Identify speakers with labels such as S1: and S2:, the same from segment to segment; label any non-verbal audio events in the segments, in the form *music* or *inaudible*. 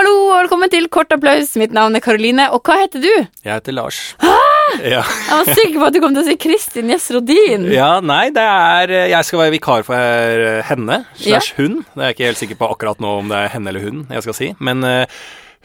S1: og velkommen til Kort applaus. Mitt navn er Karoline, og hva heter du?
S2: Jeg heter Lars. Ja.
S1: Jeg var sikker på at du kom til å si Kristin Gjess Rodin.
S2: ja, nei, det er Jeg skal være vikar for eh, henne slash hun. Det er jeg ikke helt sikker på akkurat nå om det er henne eller hun jeg skal si. Men eh,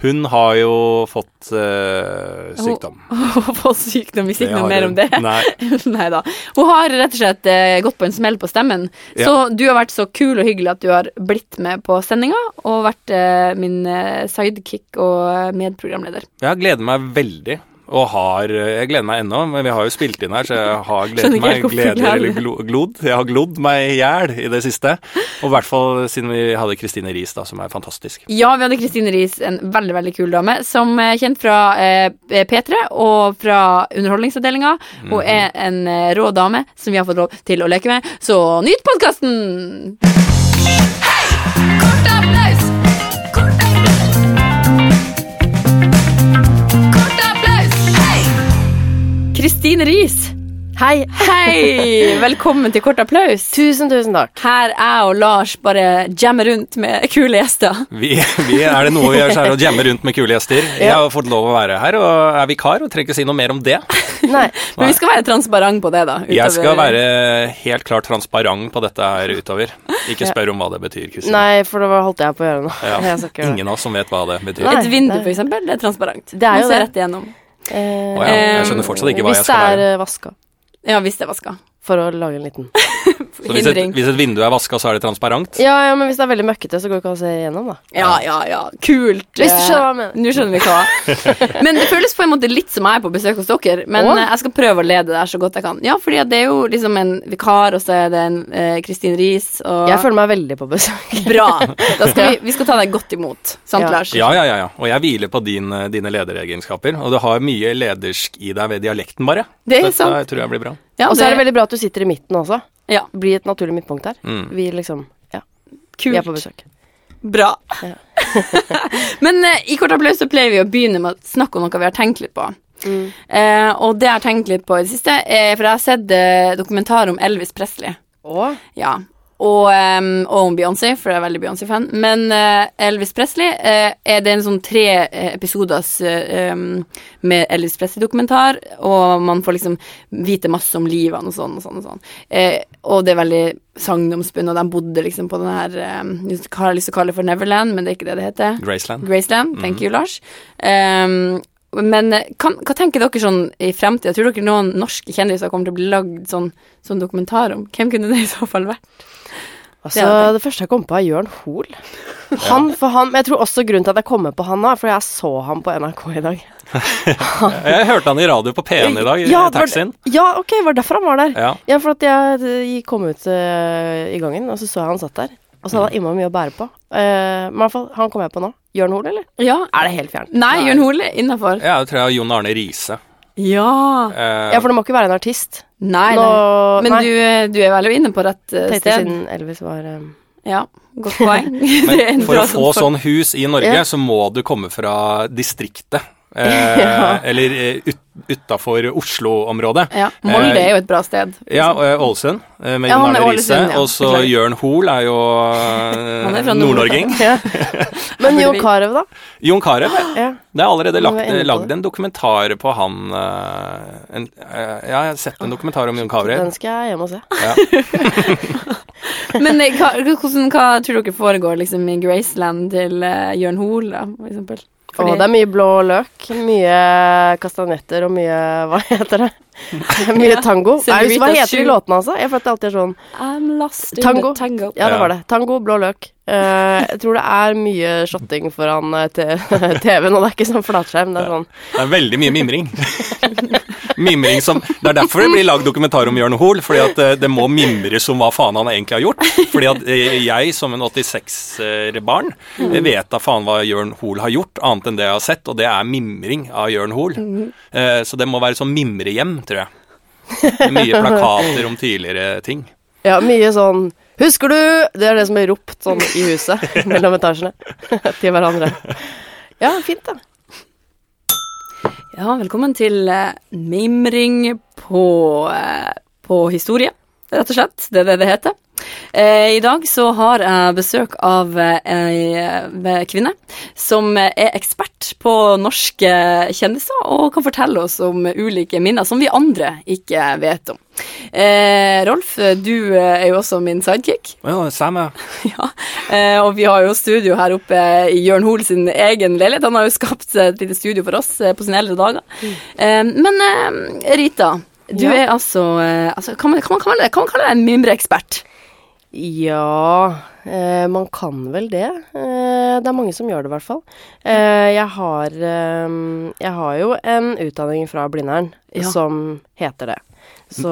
S2: hun har jo fått eh, sykdom.
S1: *laughs* Få sykdom, vi sier ikke
S2: har
S1: noe mer
S2: hun.
S1: om det. *laughs*
S2: Nei.
S1: Nei da. Hun har rett og slett eh, gått på en smell på stemmen. Så du har vært så kul og hyggelig at du har blitt med på sendinga og vært eh, min eh, sidekick og eh, medprogramleder.
S2: Jeg gleder meg veldig. Og har eh, Jeg gleder meg ennå, men vi har jo spilt inn her, så jeg har
S1: Skjønner
S2: gledet
S1: ikke
S2: meg
S1: helt hvorfor du
S2: gleder
S1: gleder
S2: eller
S1: deg.
S2: glo- glodd. Jeg har glodd meg i hjel i det siste. Og i hvert fall siden vi hadde Kristine Riis, da, som er fantastisk.
S1: Ja, vi hadde Kristine Riis, en veldig veldig kul dame, som er kjent fra eh, P3 og fra Underholdningsavdelinga, og er en eh, rå dame som vi har fått lov til å leke med. Så nyt podkasten!
S3: Kort applaus! Kort applaus! Kort applaus! Hei!
S1: Kristine Riis,
S4: Hei. *laughs*
S1: hei! Velkommen til Kort applaus.
S4: Tusen, tusen takk.
S1: Her jeg og Lars bare jammer rundt med kule gjester.
S2: Vi, vi, er det noe vi gjør, så er det å jamme rundt med kule gjester. Jeg har fått lov å være her og er vikar og trenger ikke si noe mer om det.
S4: Nei.
S1: Men vi skal være transparent på det, da. utover-
S2: Jeg skal være helt klart transparent på dette her utover. Ikke spør om hva det betyr, Kristine.
S4: Nei, for det var- holdt jeg på å gjøre nå.
S2: Ja.
S4: *laughs* Jeg skal ikke gjøre det.
S2: Ingen av oss som vet hva det betyr.
S4: Nei.
S1: Et vindu,
S4: det-
S1: for eksempel, det er transparent.
S4: Det er jo
S1: Man ser
S4: det.
S1: rett igjennom.
S4: Eh,
S2: Å ja, jeg skjønner fortsatt ikke hva jeg skal
S4: Hvis
S2: være.
S4: det er eh, vaska,
S1: Ja, hvis det er vaska.
S4: for å lage en liten *laughs*
S2: Så hvis et,
S1: Hindring.
S2: hvis et vindu er vaska, så er det transparent?
S4: Ja, ja, men hvis det er veldig møkkete, så går det ikke an å se igjennom, da.
S1: Ja, ja, ja. Kult.
S4: Hvis du skjønner hva jeg mener.
S1: Nå skjønner vi
S2: *laughs*
S1: hva. Men det føles på en måte litt som jeg er på besøk hos dere. Men
S4: Åh.
S1: eh, jeg skal prøve å lede det her så godt jeg kan. Ja, fordi at det er jo liksom en vikar, og så er det en eh, Kristin Riis, og
S4: Jeg føler meg veldig på besøk.
S1: *laughs* Bra. Da
S4: *laughs*
S1: skal vi, vi skal ta deg godt imot. Sant,
S4: Ja.
S1: Lars?
S2: Ja, ja, ja. ja. Og jeg hviler på din, eh, dine lederegenskaper. Og du har mye ledersk i deg ved dialekten, bare.
S1: Det er
S2: Dette
S1: sant.
S2: tror jeg blir bra.
S1: Ja,
S4: Og så er det veldig bra at du sitter i midten også.
S1: ja,
S4: Bli et naturlig midtpunkt her.
S2: Mm.
S4: Vi liksom Ja, vi er på
S1: kult.
S4: besøk.
S1: Bra.
S4: Ja.
S1: *laughs* Men eh, i kort applaus så pleier vi å begynne med å snakke om noe vi har tenkt litt på. Eh, og det jeg har tenkt litt på i det siste, eh, for jeg har sett eh, dokumentar om Elvis Presley.
S4: Og
S1: Ja. Og, ehm, og om Beyoncé, for jeg er veldig Beyoncé-fan. Men eh, Elvis Presley eh, er det en sånn tre eh, episoders eh, ehm, med Elvis Presley-dokumentar, og man får liksom vite masse om livet hans og sånn og sånn. Og, sånn. Eh, og det er veldig sagnomspunnet, og de bodde liksom på den her eh, Jeg har lyst til å kalle det for Neverland, men det er ikke det det heter.
S2: Graceland.
S1: Graceland.
S2: Mhm.
S1: Thank you, Lars. Ehm, men eh, kan, hva tenker dere sånn i fremtida? Tror dere noen norske kjendiser kommer til å bli lagd sånn, sånn dokumentar om? Hvem kunne det i så fall vært? Det hadde jeg
S4: altså, det første jeg kom på, er Jørn Hoel. Han, for han, men jeg tror også grunnen til at jeg kommer på han nå, er fordi jeg så ham på NRK i dag.
S2: Jeg hørte han i radio på P1 i dag, i
S4: Ja, det var-
S2: taxien.
S4: Ja, ok, var det derfor han var der?
S2: Ja.
S4: Ja, for at jeg eh, kom ut eh, i gangen, og så så jeg han satt der. Og så hadde
S1: Mm.
S4: han innmari mye å bære på. Eh, men i hvert fall, han kom jeg på nå. Jørn Hoel, eller?
S1: Ja.
S4: Er det helt fjern?
S1: Nei, Jørn Hole innafor.
S2: Ja, det tror jeg Jon Arne Riise.
S1: Ja.
S2: Eh,
S4: Ja, for det må ikke være en artist.
S1: Nei, nei.
S4: Nå-
S1: Men
S4: nei.
S1: du, eh, du er vel inne på rett eh,
S4: Tenkte
S1: sted.
S4: siden Elvis var eh, *laughs*
S1: Ja. Godt poeng. Det er en
S2: Men for
S1: bra
S2: å få
S1: for-
S2: sånn hus i Norge,
S4: Ja.
S2: så må du komme fra
S1: *laughs*
S2: distriktet. Eh, Eller eh, ut, utafor Oslo-området.
S1: ja. Molde
S2: Eh,
S1: er jo et bra sted.
S2: Ja, og, eh, Ålesund eh, med
S1: Ja,
S2: Jon
S1: han er
S2: Arne Riise.
S1: Ålesund, ja.
S2: Og så
S1: Beklager.
S2: Jørn Hoel er jo
S1: *laughs* Han er
S2: eh,
S1: fra
S2: nordnorging.
S4: Men
S1: burde
S4: Jon
S1: vi-
S4: Carew, da?
S2: Jon Carew. ja.
S4: Ja.
S2: Det er allerede
S4: var
S2: lagt, eh,
S4: inne på
S2: lagd
S4: det.
S2: en dokumentar på han eh, en, eh, Ja, jeg har sett en dokumentar om Jon Carew.
S4: Den skal jeg hjem og se.
S1: Men eh, hva, hvordan, hva tror dere foregår liksom, i Graceland til eh, Jørn Hole, da, for eksempel?
S4: Og det er mye blå løk, mye kastanjetter og mye Hva
S1: *laughs*
S4: heter det? mye tango. Nei,
S1: Senorita
S4: hva heter
S1: Sue.
S4: de låtene, altså? Jeg føler at det alltid er sånn
S1: I'm lost in
S4: Tango.
S1: the tango.
S4: Ja, det
S2: Ja.
S4: var det. Tango, blå løk. Eh, jeg tror det er mye shotting foran eh, te- *laughs* TV-en, og det er ikke sånn flatskjerm. Det er sånn
S2: Det er veldig mye mimring. mimring som, Det er derfor det blir lagd dokumentar om Jørn Hoel. Fordi at eh, det må mimres om hva faen han egentlig har gjort. Fordi at eh, jeg som en 86-barn vet da faen hva Jørn Hoel har gjort, annet enn det jeg har sett, og det er mimring av Jørn Hoel. Eh, Så det må være sånn mimrehjem, tror jeg. Mye plakater om tidligere ting.
S4: Ja, mye sånn Husker du? Det er det som blir ropt sånn i huset *laughs* mellom etasjene til hverandre. Ja, fint, da.
S1: Ja, velkommen til eh, mimring på, eh, på historie. rett og slett. Det er det det heter. Eh, I dag så har jeg besøk av eh, ei kvinne som eh, er ekspert på norske eh, kjendiser og kan fortelle oss om ulike minner som vi andre ikke vet om. Eh, Rolf, du eh, er jo også min sidekick.
S2: Ja, samme.
S1: *laughs* Ja, eh, og vi har jo studio her oppe i Jørn Hoel sin egen leilighet. Han har jo skapt seg et lite studio for oss eh, på sine eldre dager. Eh, Men eh, Rita, du
S4: Ja.
S1: er altså, eh, altså kan, man, kan, man kalle deg, kan man kalle deg en mimreekspert?
S4: Ja eh, Man kan vel det. Eh, det er mange som gjør det, i hvert fall. Eh, jeg, har, eh, jeg har jo en utdanning fra Blindern
S1: Ja.
S4: som heter det. Så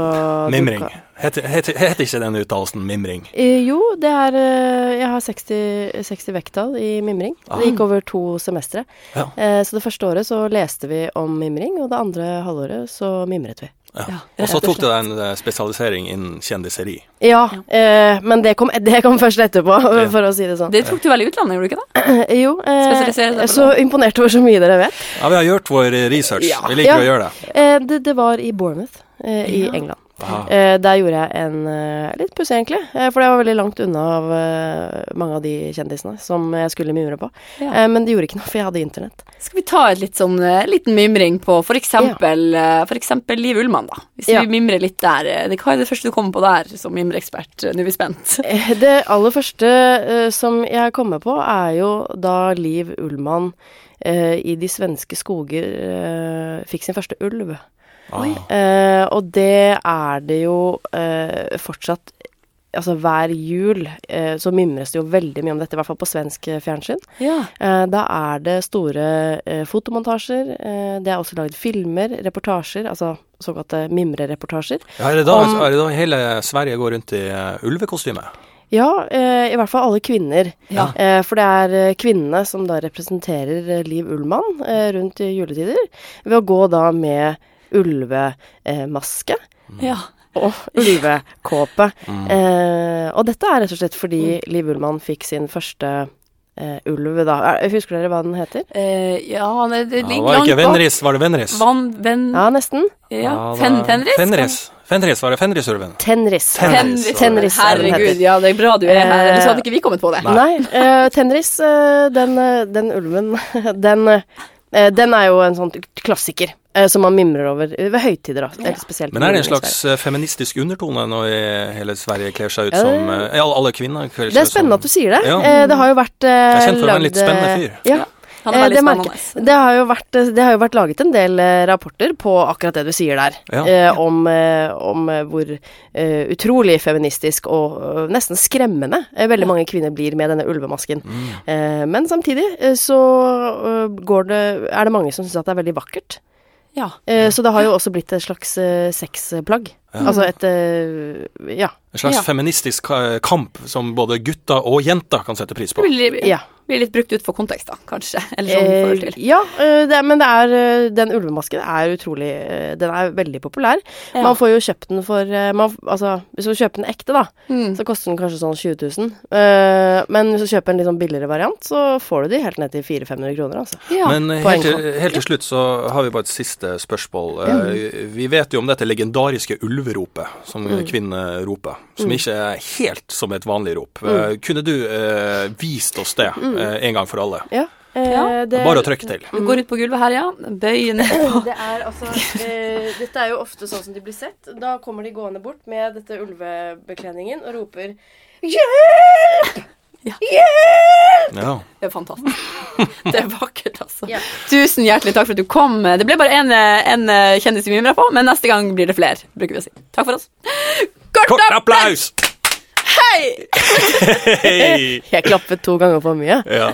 S4: du
S2: Mimring.
S4: kan-
S2: Heter, heter, heter ikke den uttalelsen mimring?
S4: Eh, jo, det er eh, Jeg har 60, 60 vekttall i mimring. Det gikk over to semestre.
S2: Ja.
S4: Eh, så det første året så leste vi om mimring, og det andre halvåret så mimret vi.
S2: Ja.
S1: Ja,
S2: Og
S1: rett
S2: så
S1: og
S2: tok du deg en eh, spesialisering innen kjendiseri.
S4: Ja, eh, men det kom, det kom først etterpå, *laughs* for å si det sånn.
S1: Det tok du vel i utlandet, gjorde du ikke det?
S4: Eh, jo, eh,
S1: Spesialisere deg på
S4: så imponert over så mye dere vet.
S2: Ja, vi har gjort vår eh, research.
S1: Ja.
S2: Vi liker
S4: Ja.
S2: å gjøre det.
S4: Eh, det, det var i Bournemouth eh, i England.
S2: Ah.
S4: Eh, der gjorde jeg en eh, litt pussig, egentlig. Eh, for jeg var veldig langt unna av eh, mange av de kjendisene som jeg skulle mimre på.
S1: Ja.
S4: Eh, men det gjorde ikke noe, for jeg hadde internett.
S1: Skal vi ta et litt sånn, eh, liten mimring på for eksempel, eh, for eksempel Liv Ullmann, da? Hvis
S4: Ja.
S1: vi mimrer litt der. eh, det- Hva er det første du kommer på der som mimreekspert? Nå er vi spent.
S4: Eh, Det aller første eh, som jeg kommer på, er jo da Liv Ullmann eh, i de svenske skoger eh, fikk sin første ulv. Eh, og det er det jo eh, fortsatt Altså hver jul eh, så mimres det jo veldig mye om dette, i hvert fall på svensk eh, fjernsyn.
S1: Ja.
S4: Eh, Da er det store eh, fotomontasjer. eh, Det er også lagd filmer, reportasjer, altså såkalte mimrereportasjer.
S2: Ja, er, det da,
S4: Om-
S2: er det da hele Sverige går rundt i eh, ulvekostyme?
S4: Ja, eh, i hvert fall alle kvinner.
S1: Ja.
S4: Eh, for det er eh, kvinnene som da representerer eh, Liv Ullmann eh, rundt i juletider, ved å gå da med ulvemaske
S1: ja.
S4: og ulvekåpe. Eh, og dette er rett og slett fordi Liv Ullmann fikk sin første eh, ulv, da. Er- Husker dere hva den heter?
S1: Eh, ja, det, det
S2: Ja,
S1: ligger
S2: var det
S1: langt
S2: ikke
S1: bak.
S2: Venris? Var det Venris?
S1: Vann, venn, ja.
S4: Ja, nesten.
S2: da-
S1: Fen, fenris?
S2: Fenris. Fenris, Var det Fenrisurven?
S4: Tenris.
S1: Fenris.
S2: Fenris.
S4: Fenris, er den
S1: Herregud,
S4: heter.
S1: ja, det er bra du er her, ellers hadde
S4: Eh,
S1: ikke vi kommet på det.
S2: Nei.
S4: Nei, eh, tenris, eh, den, eh, den ulven, *laughs* den, eh, den er jo en sånn klassiker eh, som man mimrer over eh, ved høytider. Da, eh, spesielt
S2: Men er det en
S4: i
S2: slags
S4: Sverige.
S2: eh, feministisk undertone når eh, hele Sverige kler seg ut
S4: Ja, det-
S2: som eh, ja, Alle kvinner kler
S4: Det
S2: seg
S4: er spennende at du sier det.
S2: Ja.
S4: Eh, det har jo vært eh,
S2: Jeg er kjent for å være en litt
S4: lagd, eh,
S2: spennende fyr.
S4: Ja.
S1: Han er
S4: Eh,
S1: veldig
S4: det, merker-
S1: spennende.
S4: det, har jo vært, eh, det har jo vært laget en del eh, rapporter på akkurat det du sier der,
S2: Ja.
S4: eh, om, eh, om eh, hvor eh, utrolig feministisk og eh, nesten skremmende eh, veldig mange kvinner blir med denne ulvemasken.
S2: Mm.
S4: Eh, men samtidig eh, så eh, går det, er det mange som syns at det er veldig vakkert.
S1: Ja.
S4: Eh, Så det har jo også blitt et slags eh, sexplagg. Altså et eh, Ja.
S2: En slags
S1: Ja.
S2: feministisk eh, kamp som både gutta og jenta kan sette pris på.
S1: Blir, litt-
S4: Ja.
S1: blir litt brukt ut for kontekst, da, kanskje. Eller sånn i forhold
S4: Eh,
S1: til.
S4: ja, eh, det, er- men det er, eh, den ulvemasken er utrolig eh, Den er veldig populær.
S1: Ja.
S4: Man får jo kjøpt den for eh, man, f- Altså, hvis du kjøper den ekte, da,
S1: Mm.
S4: så koster den kanskje sånn 20 000. Eh, men hvis du kjøper en litt sånn billigere variant, så får du de helt ned til 400-500 kroner, altså.
S1: Ja.
S2: Men eh,
S4: poeng.
S2: helt til, helt til slutt så har vi bare et siste spørsmål. Eh, Vi vet jo om dette legendariske ulveropet som kvinnene roper, som ikke er helt som et vanlig rop. Eh, Kunne du eh, vist oss det eh, en gang for alle?
S4: Ja. eh,
S1: Ja.
S4: det-
S2: Bare å trykke til.
S1: Du går ut på gulvet her, ja. Bøy ned på
S4: Det er altså eh, Dette er jo ofte sånn som de blir sett. Da kommer de gående bort med dette ulvebekledningen og roper Hjelp!
S2: Ja.
S1: Det er
S2: *laughs*
S1: fantastisk. Det er vakkert, altså. Tusen hjertelig takk for at du kom. Det ble bare én kjendis vi mimra på, men neste gang blir det flere, bruker vi å si. Takk for oss. Kort,
S2: Kort applaus!
S1: Hei!
S2: Hei!
S4: Jeg klappet to ganger for mye.
S2: Ja.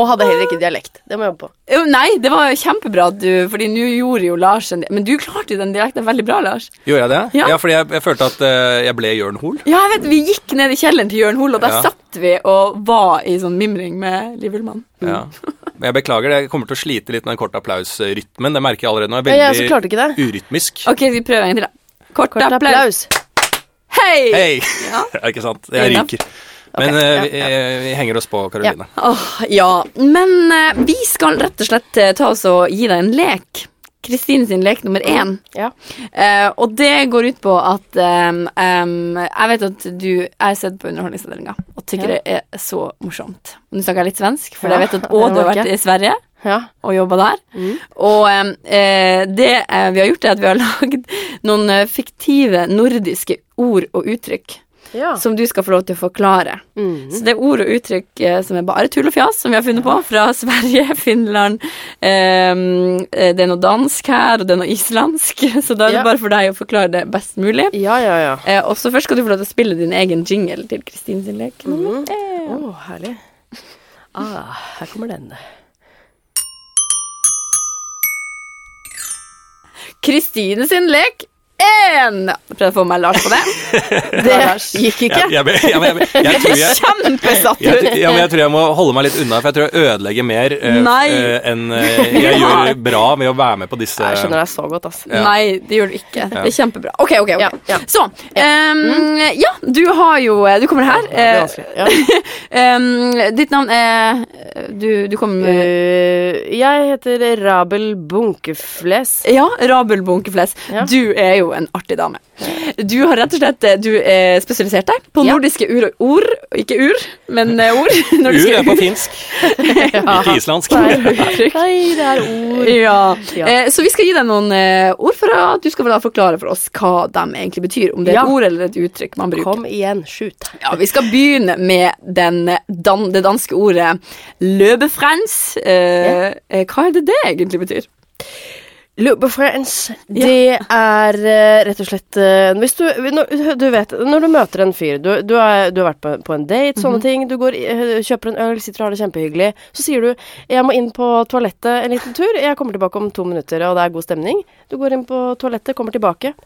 S4: Og hadde heller ikke dialekt. Det må jeg jobbe på.
S1: Jo, Nei, det var kjempebra, at du, fordi nå gjorde jo Lars en Men du klarte jo den dialekten veldig bra, Lars.
S2: Gjorde jeg det?
S1: Ja.
S2: Ja, fordi jeg, jeg følte at eh, jeg ble Jørn Hoel.
S1: Ja, jeg vet, Vi gikk ned i kjelleren til Jørn Hoel, og der
S2: Ja.
S1: satt vi og var i sånn mimring med Liv Ullmann.
S2: Ja. Men jeg beklager, det. jeg kommer til å slite litt med den kort applaus-rytmen. Det merker jeg allerede nå. Jeg
S4: Jeg
S2: er
S4: også
S2: veldig
S4: klarte ikke det.
S2: urytmisk.
S1: Ok, vi prøver en gang til, da. Kort,
S4: Kort
S1: applaus.
S4: applaus.
S1: Hei!
S2: Hei!
S1: Ja.
S2: *laughs* Ja, ikke sant? Jeg
S1: Ja.
S2: ryker. Men eh, vi, eh, vi henger oss på, Karoline.
S1: Åh, ja. Men eh, vi skal rett og slett eh, ta oss og gi deg en lek. Kristine sin lek nummer én.
S4: Ja.
S1: Eh, og det går ut på at em, em, Jeg vet at du Jeg har sett på Underholdningsavdelinga og tykker
S4: Ja.
S1: det er så morsomt. Og Nå snakker jeg litt svensk, for
S4: Ja,
S1: jeg vet at Å, du har
S4: det var
S1: vært i Sverige
S4: ja.
S1: og jobba der.
S4: Mm.
S1: Og em, eh, det eh, vi har gjort, er at vi har *laughs* lagd noen eh, fiktive nordiske ord og uttrykk
S4: ja.
S1: som du skal få lov til å forklare.
S4: Mm.
S1: Så det er ord og uttrykk eh, som er bare tull og fjas, som vi har funnet på, fra *laughs* Sverige, Finland ehm, eh, Det er noe dansk her, og det er noe islandsk, *laughs* så da er det
S4: Ja.
S1: bare for deg å forklare det best mulig.
S4: ja, ja, ja.
S1: Eh, og så først skal du få lov til å spille din egen jingle til Kristin sin lek.
S4: Mm. Å, herlig. Ah, her kommer den.
S1: Kristine sin lek 1! Prøvde å få meg Lars på det.
S4: *laughs* Det gikk ikke.
S2: Jeg, jeg, jeg, jeg, jeg, jeg, jeg tror jeg
S1: Kjempesatt
S2: jeg,
S1: ut!
S2: tr- ja, men jeg tror jeg må holde meg litt unna, for jeg tror jeg ødelegger mer eh,
S1: Nei.
S2: eh, enn eh, jeg gjør bra med å være med på disse
S4: Jeg skjønner deg så godt, ass.
S2: Ja.
S1: Nei, det gjør du ikke. Det er kjempebra. OK, OK. ok
S4: Ja, ja.
S1: Så ehm, Ja, du har jo eh, Du kommer her.
S4: Det er vanskelig. Ja.
S1: Ehm, ditt navn er Du, du kommer med
S4: Eh, jeg heter Rabel Bunkefles.
S1: Ja, Rabel Bunkefles.
S4: Eh. Ja.
S1: Du er jo en artig dame. Du har rett og slett eh, Du eh, spesialisert deg på
S4: Ja.
S1: nordiske ur og ord. Ikke ur, men eh, ord.
S2: *laughs* Ur
S1: Nordiske
S2: er på finsk, ikke islandsk.
S1: Uttrykk.
S4: Nei, det er ord.
S1: Ja.
S4: Ja.
S1: Eh, så vi skal gi deg noen eh, ord for at du skal vel da forklare for oss hva de egentlig betyr. Om det er et
S4: Ja.
S1: ord eller et uttrykk man bruker.
S4: Kom igjen, shoot.
S1: Ja, Vi skal begynne med den, dan, det danske ordet løbefrens. Eh, eh, Hva er det det egentlig betyr?
S4: Loop of friends, det er eh, rett og slett eh, Hvis du når, Du vet, når du møter en fyr Du, du, er, du har vært på, på en date, sånne ting. Du går, eh, kjøper en øl, sitter og har det kjempehyggelig. Så sier du 'Jeg må inn på toalettet en liten tur'. 'Jeg kommer tilbake om to minutter', og det er god stemning. Du går inn på toalettet, kommer tilbake.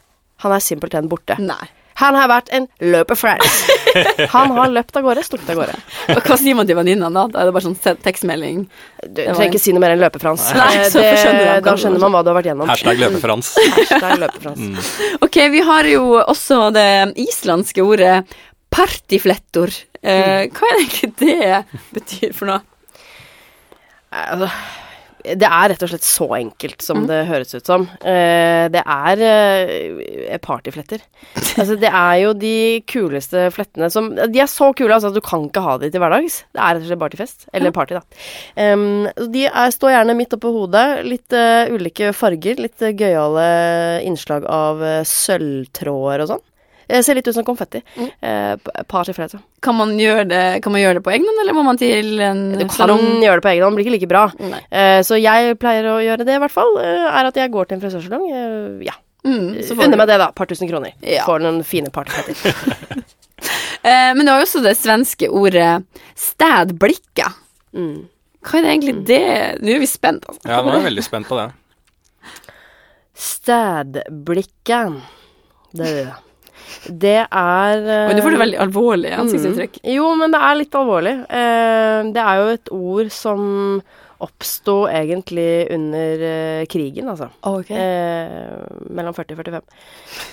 S4: Han er simpelthen borte.
S1: Nei.
S4: Han har vært en løper friends. *laughs* Han har løpt av gårde, stukket av gårde.
S1: Og Hva sier man til venninnene da? Da er det bare sånn se- tekstmelding.
S4: Du
S1: var
S4: trenger
S1: en-
S4: ikke si noe mer enn løpefrans.
S1: Nei,
S4: Eh,
S1: så skjønner han hva
S4: Da
S1: det var.
S4: skjønner man hva du har vært
S2: *laughs*
S4: gjennom.
S2: Hashtag løpefrans.
S4: Hashtag løpefrans.
S1: Ok, vi har jo også det islandske ordet partiflettor. Eh, hva er det egentlig det betyr for noe?
S4: Nei, altså, Det er rett og slett så enkelt som det høres ut som. Eh, det er eh, partyfletter. Altså, det er jo de kuleste flettene som De er så kule altså, at du kan ikke ha de til hverdags. Det er rett og slett bare til fest. Eller party, da. Em, og de er, står gjerne midt oppå hodet. Litt eh, ulike farger. Litt uh, gøyale innslag av eh, sølvtråder og sånn. Eh, ser litt ut som konfetti. Eh, p- partyfletter.
S1: Kan man gjøre det, kan man gjøre det på egen hånd, eller må man til
S4: Du
S1: en
S4: kan
S1: salong?
S4: gjøre det på egen hånd, det blir ikke like bra.
S1: Nei.
S4: Eh, Så jeg pleier å gjøre det, i hvert fall. eh, Er at jeg går til en frisørsalong. eh, Ja.
S1: Mm, så får
S4: Unner
S1: du-
S4: meg det, da. Et par tusen kroner.
S1: Ja.
S4: Får noen fine
S1: *laughs*
S4: partyfetter.
S1: Eh, men du har jo også det svenske ordet stedblikket.
S4: Mm.
S1: Hva er det egentlig det Nå er vi spent, altså.
S2: Ja, nå er jeg veldig spent på det.
S4: Stadblikket. Det, det er eh, mm.
S1: Oi, nå får du veldig alvorlig ansiktsuttrykk.
S4: Jo, men det er litt alvorlig. Eh, Det er jo et ord som oppsto egentlig under eh, krigen, altså. Eh, mellom 40 og 45.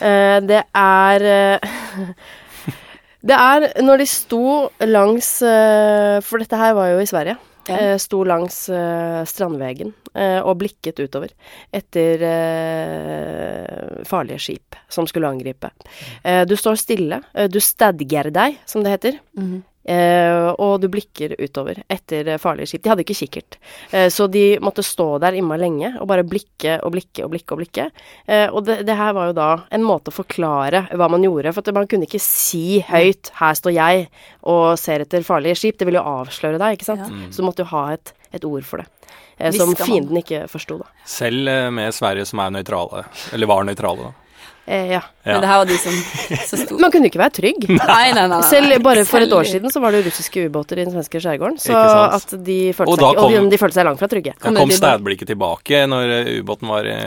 S4: Eh, det er eh, *laughs* Det er når de sto langs eh, For dette her var jo i Sverige.
S1: Ja.
S4: Eh, sto langs eh, strandvegen eh, og blikket utover etter eh, farlige skip som skulle angripe. Eh, du står stille. Eh, du stadger deg, som det heter. Eh, og du blikker utover etter eh, farlige skip. De hadde ikke kikkert. Eh, så de måtte stå der imma lenge og bare blikke og blikke og blikke. Og blikke. Eh, og det, det her var jo da en måte å forklare hva man gjorde. For at man kunne ikke si høyt 'her står jeg og ser etter farlige skip'. Det ville jo avsløre deg, ikke sant. Så du måtte jo ha et, et ord for det. Eh, som
S1: Visste han.
S4: fienden ikke forsto, da.
S2: Selv eh, med Sverige som er nøytrale, eller var nøytrale, da.
S4: Eh, ja.
S1: Men det her var de som som
S4: *laughs*
S1: sto
S4: Man kunne ikke være
S2: *laughs*
S4: trygg.
S1: Nei, nei, nei. nei.
S4: Selv bare for et
S1: Selv-
S4: år siden så var det russiske ubåter i den svenske skjærgården. Så
S2: Ikke
S4: at
S2: sant.
S4: de følte,
S2: Og
S4: seg,
S2: da
S4: ikke- og de,
S2: kom-
S4: de følte seg langt fra trygge.
S2: Da
S1: Kan
S2: kom
S1: det bli bra?
S2: stedblikket tilbake når eh, ubåten var i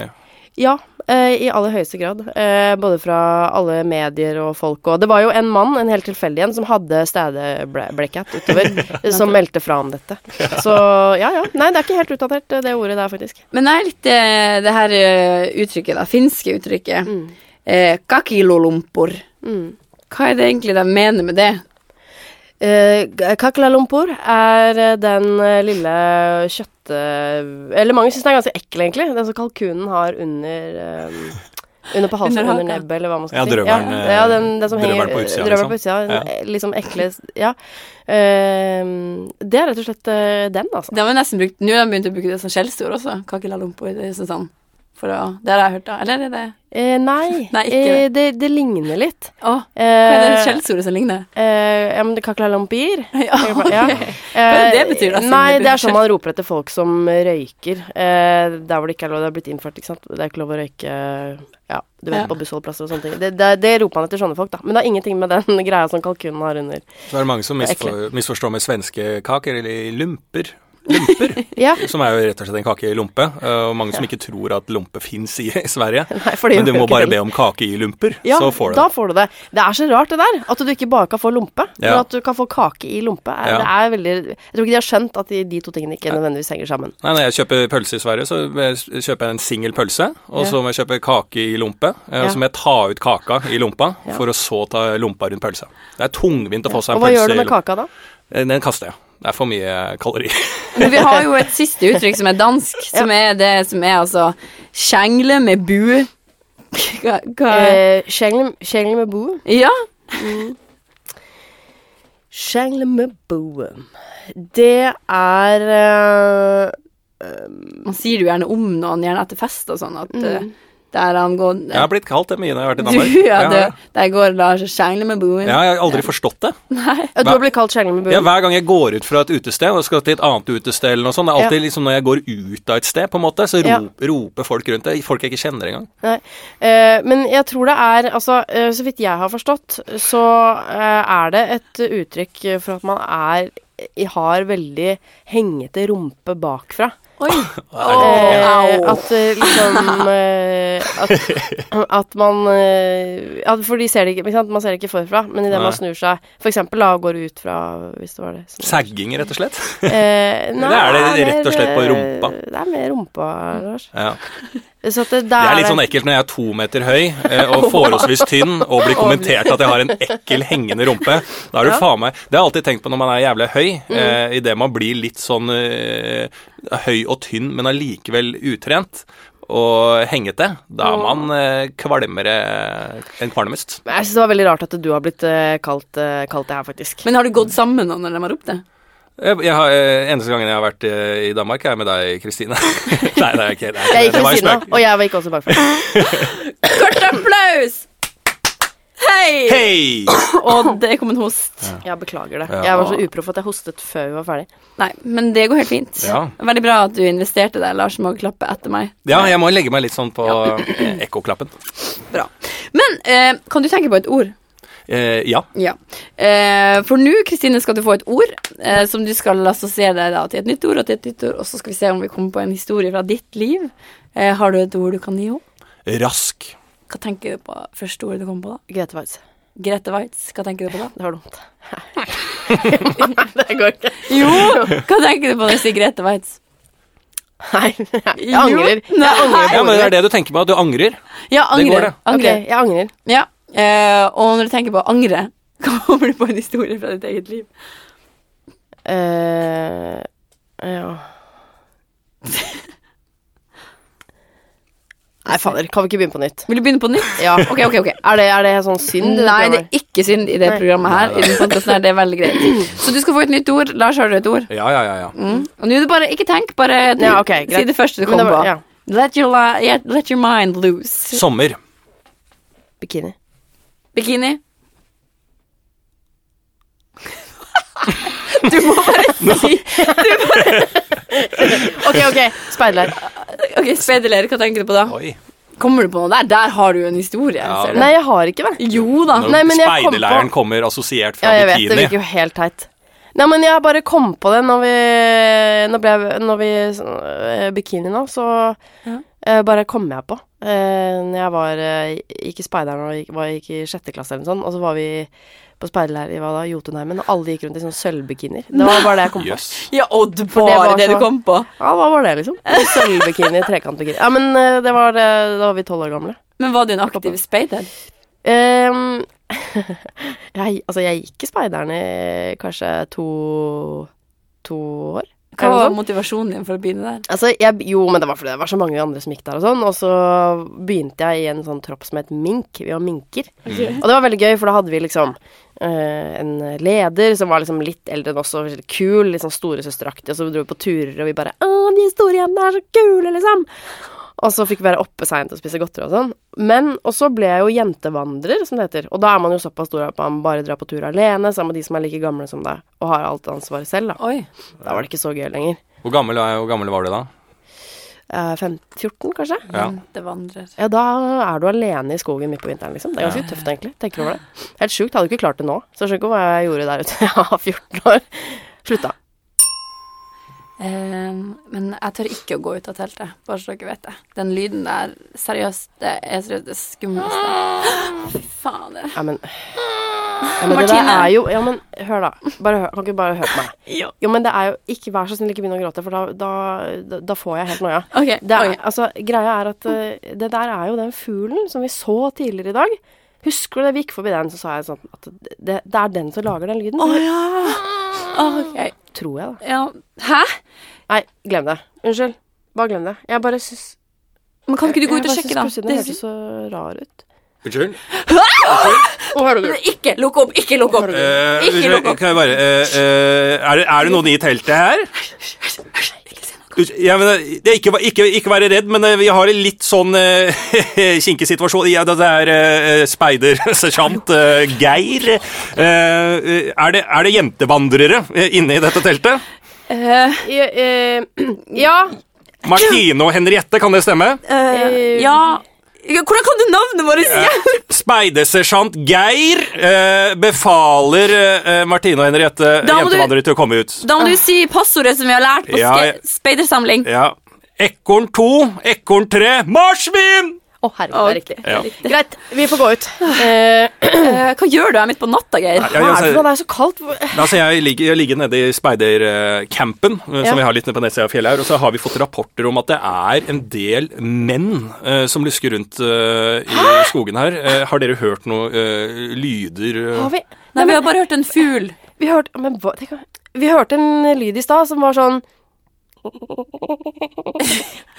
S4: Ja, eh, i aller høyeste grad. Eh, både fra alle medier og folk. Og det var jo en mann, en helt tilfeldig en, som hadde stedeblacket utover, eh, som meldte fra om dette. Så ja, ja. Nei, det er ikke helt utdatert, eh, det ordet der, faktisk.
S1: Men det er litt eh, det her eh, uttrykket, da. Finske uttrykket.
S4: Mm.
S1: Eh, kakilolumpor. Hva er det egentlig de mener med det?
S4: Eh, Kakla Lumpur er eh, den eh, lille kjøtte... Eller mange syns den er ganske ekkel, egentlig. Den som kalkunen har under eh, Under på halsen,
S1: Under
S4: under,
S1: haka.
S4: nebbet, eller hva man skal
S2: Ja,
S4: si.
S2: drøvelen,
S4: ja,
S2: eh,
S4: ja, den, den som
S2: drøvelen
S4: henger
S2: på utsida,
S4: Drøvelen
S2: liksom.
S4: på utsida.
S2: Ja.
S4: eh, Liksom ekle Ja. Eh, det er rett og slett eh, den, altså.
S1: Det har vi nesten brukt Nå har de begynt å bruke det som skjellsord også. Kakela lumpo. Det er sånn sånn. For å, det har jeg hørt, da. Eller er det
S4: Eh, nei,
S1: Nei, ikke
S4: eh, det, det ligner litt.
S1: Å, hva er det
S4: Eh,
S1: skjellsordet som ligner? *laughs*
S4: eh, ja, men det Kakla Lumpur
S1: Ja,
S4: Ja.
S1: *laughs* ok.
S4: Eh,
S1: det betyr da, siden
S4: Nei,
S1: det
S4: det
S1: blir
S4: er sånn man roper etter folk som røyker. Eh, der hvor det ikke er lov, det er blitt innført, ikke sant. Det er ikke lov å røyke ja, du vet,
S1: Ja.
S4: på bussholdplasser og sånne ting. Det, det, det roper man etter sånne folk, da. Men det har ingenting med den *laughs* greia som kalkunen har under.
S2: Så er det mange som
S4: Det er
S2: misfor, misforstår med svenske kaker, eller lumper. Lumper,
S4: Ja,
S2: som er jo rett og slett en kake i lompe. eh, Og mange som ikke tror at lompe *laughs* fins i Sverige.
S4: *laughs* nei, for det
S2: Men du
S4: gjør jo
S2: må
S4: ikke
S2: bare
S4: *laughs* det.
S2: be om kake i lumper,
S4: ja,
S2: så får du
S4: da
S2: det.
S4: får du det. Det er så rart, det der. At du ikke bare kan få lompe, men
S2: Ja.
S4: at du kan få kake i lompe. Er,
S2: Ja.
S4: Det er veldig Jeg tror ikke de har skjønt at de, de to tingene ikke nødvendigvis henger sammen.
S2: Nei, Når jeg kjøper pølse i Sverige, så kjøper jeg en singel pølse, og
S4: Ja.
S2: så må jeg kjøpe kake i lompe. eh,
S4: Ja.
S2: Og så må jeg ta ut kaka i lompa,
S4: Ja.
S2: for å så ta lompa rundt pølsa. Det er tungvint å få seg en
S4: Og hva
S2: pølse
S4: gjør du
S2: i
S4: med
S2: lompa.
S4: kaka da?
S2: Den kaster jeg. Det er for mye kalorier.
S1: Men vi har jo et siste uttrykk som er dansk, som er det som er altså Kjengle med bue. Hva, hva
S4: Eh, Kjengle kjengle med bo.
S1: Ja,
S4: Shangle med boom. Det er eh,
S1: man sier det jo gjerne om noen, gjerne etter fest og sånn, at eh, der han går
S2: Jeg har blitt kalt det mye når jeg har vært i
S1: *laughs* du,
S2: Danmark.
S1: ja,
S2: Ja,
S1: det,
S2: ja.
S1: Der går Lars og kjengler med buen.
S2: Ja, jeg har aldri forstått det.
S4: ja, Du har blitt kalt Shangle med boom.
S2: Ja, Hver gang jeg går ut fra et utested og skal til et annet utested, eller noe sånt, det er alltid liksom når jeg går ut av et sted, på en måte, så
S4: Ja.
S2: ro- roper folk rundt det. Folk jeg ikke kjenner engang.
S4: Nei. Eh, men jeg tror det er Altså, eh, så vidt jeg har forstått, så eh, er det et uttrykk for at man er har veldig hengete rumpe bakfra.
S1: Oi.
S4: Eh,
S1: Au.
S4: at eh, liksom eh, at,
S2: *laughs*
S4: at man eh, at, For de ser det ikke, ikke sant? Man ser det ikke forfra, men idet
S2: Nei.
S4: man snur seg For eksempel da går ut fra Hvis det var det. som-
S2: Sagging, rett og slett.
S4: Eh, nei,
S2: Eller er det
S4: mer,
S2: rett og slett på
S4: eh,
S2: rumpa?
S4: Det er mer rumpa, Lars.
S2: Ja.
S4: Så at det, det
S2: Det er litt
S4: vel-
S2: sånn ekkelt når jeg er to meter høy eh, og forholdsvis tynn og blir kommentert at jeg har en ekkel hengende rumpe. Da er du faen meg Det har jeg alltid tenkt på når man er jævlig høy. Eh, Idet man blir litt sånn eh, høy og tynn, men allikevel utrent og hengete, da er man eh, kvalmere enn kvalmest.
S4: Men Jeg syns det var veldig rart at du har blitt eh, kalt, eh, kalt det her, faktisk.
S1: Men har du gått sammen med noen når de har ropt det?
S2: Jeg, jeg har, eh, eneste gangen jeg har vært eh, i Danmark, er med deg,
S4: *laughs*
S2: Kristine. Nei, det er ikke det.
S4: jeg
S2: er ikke det.
S4: gikk
S2: Det var
S4: ved
S2: en
S4: siden av,
S2: spøk.
S4: og jeg gikk også bakfra.
S1: Kort applaus! Hei!
S2: Hei!
S1: Og det kom en host.
S4: Jeg beklager det.
S2: Ja.
S4: Jeg var så uproff at jeg hostet før vi var ferdig.
S1: Nei, men det går helt fint.
S2: Ja.
S1: Veldig bra at du investerte deg, Lars. Må klappe etter meg.
S2: Ja, jeg må legge meg litt sånn på eh, *clears throat* ekkoklappen.
S1: Bra. Men eh, kan du tenke på et ord?
S2: Eh, ja.
S1: Ja. Eh, for nå, Kristine, skal du få et ord eh, som du skal assosiere deg da, til et nytt ord og til et nytt ord, og så skal vi se om vi kommer på en historie fra ditt liv. Eh, har du et ord du kan gi henne?
S2: Rask.
S1: Hva tenker du på første ordet du kommer på da?
S4: Grete Waitz.
S1: Grete Waitz, hva tenker du på da?
S4: Det var *laughs* dumt. det går ikke.
S1: Jo! *laughs* Hva tenker du på når du sier Grete Waitz?
S4: Nei, jeg angrer.
S1: Jo, nei.
S4: Jeg angrer.
S2: Ja, men det er det du tenker på, at du angrer.
S1: *laughs* Ja,
S2: Det går
S1: angrer.
S2: det.
S4: Ok,
S1: angrer.
S4: jeg angrer.
S1: Ja. Eh, og når du tenker på angre, *laughs* kommer du på en historie fra ditt eget liv.
S4: Eh, ja. *laughs* Nei, fader. Kan vi ikke begynne på nytt?
S1: Vil du begynne på nytt?
S4: Ja.
S1: Ok, ok, ok.
S4: Er det, er det sånn synd?
S1: Nei, det er ikke synd i det
S4: Nei.
S1: programmet her. I den podcasten her, Det er veldig
S4: *clears throat*
S1: greit. Så du skal få et nytt ord. Lars, har du et ord?
S2: Ja, ja, ja. ja.
S1: Mm. Og nå er det bare Ikke tenk, bare
S4: Ja, ok, greit.
S1: si det første du
S4: Men det
S1: kommer
S4: var-
S1: på.
S4: ja.
S1: Let, your li yeah, let your mind loose.
S2: Sommer.
S4: Bikini. *laughs*
S1: Bikini. Du må bare si
S4: Ok, ok. Speidler.
S1: Ok, Speiderleder, hva tenker du på da?
S2: Oi.
S1: Kommer du på noe der? Der har du jo en historie.
S2: Ja.
S1: ser du.
S4: Nei, jeg har ikke det.
S1: Jo da.
S2: Når
S4: Ah, Nei, men jeg kom
S2: speiderleiren kommer assosiert
S4: Ja,
S2: fra
S4: jeg vet, det
S2: bikini.
S4: virker jo helt teit. Nei, men jeg bare kom på det når vi Når, ble, når vi øh, Bikini nå, så
S1: Ja.
S4: øh, bare kom jeg på. Eh, Når jeg var øh, gikk i speideren og gikk, var, gikk i sjette klasse eller noe sånt, og så var vi på speiderleir i hva da, Jotunheimen, og alle gikk rundt i sånne sølvbikinier. Det var bare det jeg kom på.
S2: Jøss.
S1: Ja, og det
S4: det
S1: bare
S4: var
S1: det, du
S4: så-
S1: kom på.
S4: Ja, hva var det, liksom? Sølvbikini, trekantbikini. eh, Ja, men øh, det var, øh, da var vi tolv år gamle.
S1: Men var du en aktiv speider?
S4: Ehm, *laughs* Jeg, altså, jeg gikk i speiderne i kanskje to, to år. sånn?
S1: Hva
S4: eller noe
S1: var
S4: sånt.
S1: motivasjonen din for å begynne der?
S4: Altså, jeg, jo, men det var fordi det var så mange andre som gikk der og sånn. Og så begynte jeg i en sånn tropp som het Mink. Vi var minker. Og det var veldig gøy, for da hadde vi liksom eh, en leder som var liksom litt eldre enn oss og litt kul, litt sånn storesøsteraktig, og så dro vi på turer, og vi bare Å, de store jentene er så kule, liksom. Og så fikk vi være oppe seint og spise godteri og sånn. Men, Og så ble jeg jo jentevandrer, som det heter. Og da er man jo såpass stor at man bare drar på tur alene sammen med de som er like gamle som deg, og har alt ansvaret selv, da.
S1: Oi.
S4: Da var det ikke så gøy lenger.
S2: Hvor gammel, er- hvor gammel var du da?
S4: Eh, fem- 14, kanskje?
S2: Ja.
S1: Jentevandrer.
S4: Ja, da er du alene i skogen midt på vinteren, liksom. Det er ganske tøft, egentlig. Tenker du over det. Helt sjukt. Hadde ikke klart det nå. Så jeg skjønner ikke hva jeg gjorde der ute. *laughs* Jeg var 14 år. Slutta.
S1: Eh, men jeg tør ikke å gå ut av teltet, bare så dere vet det. Den lyden der, seriøst, det er seriøst det skumleste.
S2: Ah!
S1: Fy fader.
S4: Ja, men ja, men det der
S1: Martine.
S4: er jo Ja, men hør, da. Bare hør. Kan ikke du bare høre på meg? Jo, men det er jo Ikke vær så snill, ikke begynn å gråte, for da, da, da- da får jeg helt noia.
S1: Ok,
S4: Det er,
S1: ok.
S4: altså, greia er at eh, det der er jo den fuglen som vi så tidligere i dag. Husker du det? Vi gikk forbi den, så sa jeg sånn at det, det er den som lager den lyden.
S1: Å ja. Ah, Ok.
S4: Tror jeg, da.
S1: Ja. Hæ?
S4: Nei, glem det. Unnskyld. Bare glem det. Jeg bare syns
S1: Men kan ikke du gå ut
S4: jeg
S1: og
S4: bare
S1: sjekke,
S4: syns
S1: da?
S4: plutselig
S1: Det
S4: Den
S1: er
S4: hørtes så rar ut.
S2: Unnskyld?
S4: Å, hører du?
S1: Men Ikke lukk opp, ikke lukk opp!
S2: Eh,
S1: Ikke lukk
S2: unnskyld,
S1: opp.
S2: kan jeg bare eh, eh, er, det, er det noen i teltet her?
S1: Ikke si noe.
S2: Unnskyld, Ja, men, eh, det er ikke, ikke, ikke være redd, men eh, vi har en litt sånn eh, *laughs* kinkig situasjon. Ja, det er eh, speidersersjant eh, Geir. Eh, eh, er, det, er det jentevandrere eh, inne i dette teltet?
S1: Eh,
S4: Ja, eh, *clears throat* ja.
S2: Martine og Henriette, kan det stemme?
S1: eh, ja Ja, Hvordan kan du navnet vårt? Ja.
S2: Speidersersjant Geir eh, befaler eh, Martine og Henriette
S1: Da må du-
S2: jentevandrere til å komme ut.
S1: Da må du si passordet som vi har lært på
S2: Ja, ja.
S1: ske- speidersamling.
S2: Ja. Ekorn 2, ekorn 3, marsvin!
S4: Å, herregud, det er riktig.
S2: Ja.
S4: Greit, vi får
S1: *laughs*
S4: gå ut. Eh,
S1: Eh, hva gjør du her midt på natta, Geir?
S2: Ja, ja,
S4: hva er det
S2: altså-
S4: for noe? Det er så kaldt. Hvor-
S2: Altså, jeg, ligger, jeg ligger nede i speidercampen, eh,
S4: Ja.
S2: som vi har litt nede på nettsida av fjellet her, og så har vi fått rapporter om at det er en del menn eh, som lusker rundt eh, i skogen her. Eh, har dere hørt noe eh, lyder? eh?
S4: Har vi
S1: Nei, vi har bare hørt en fugl.
S4: Vi hørte Men hva tenk, om- Vi hørte en lyd i stad som var sånn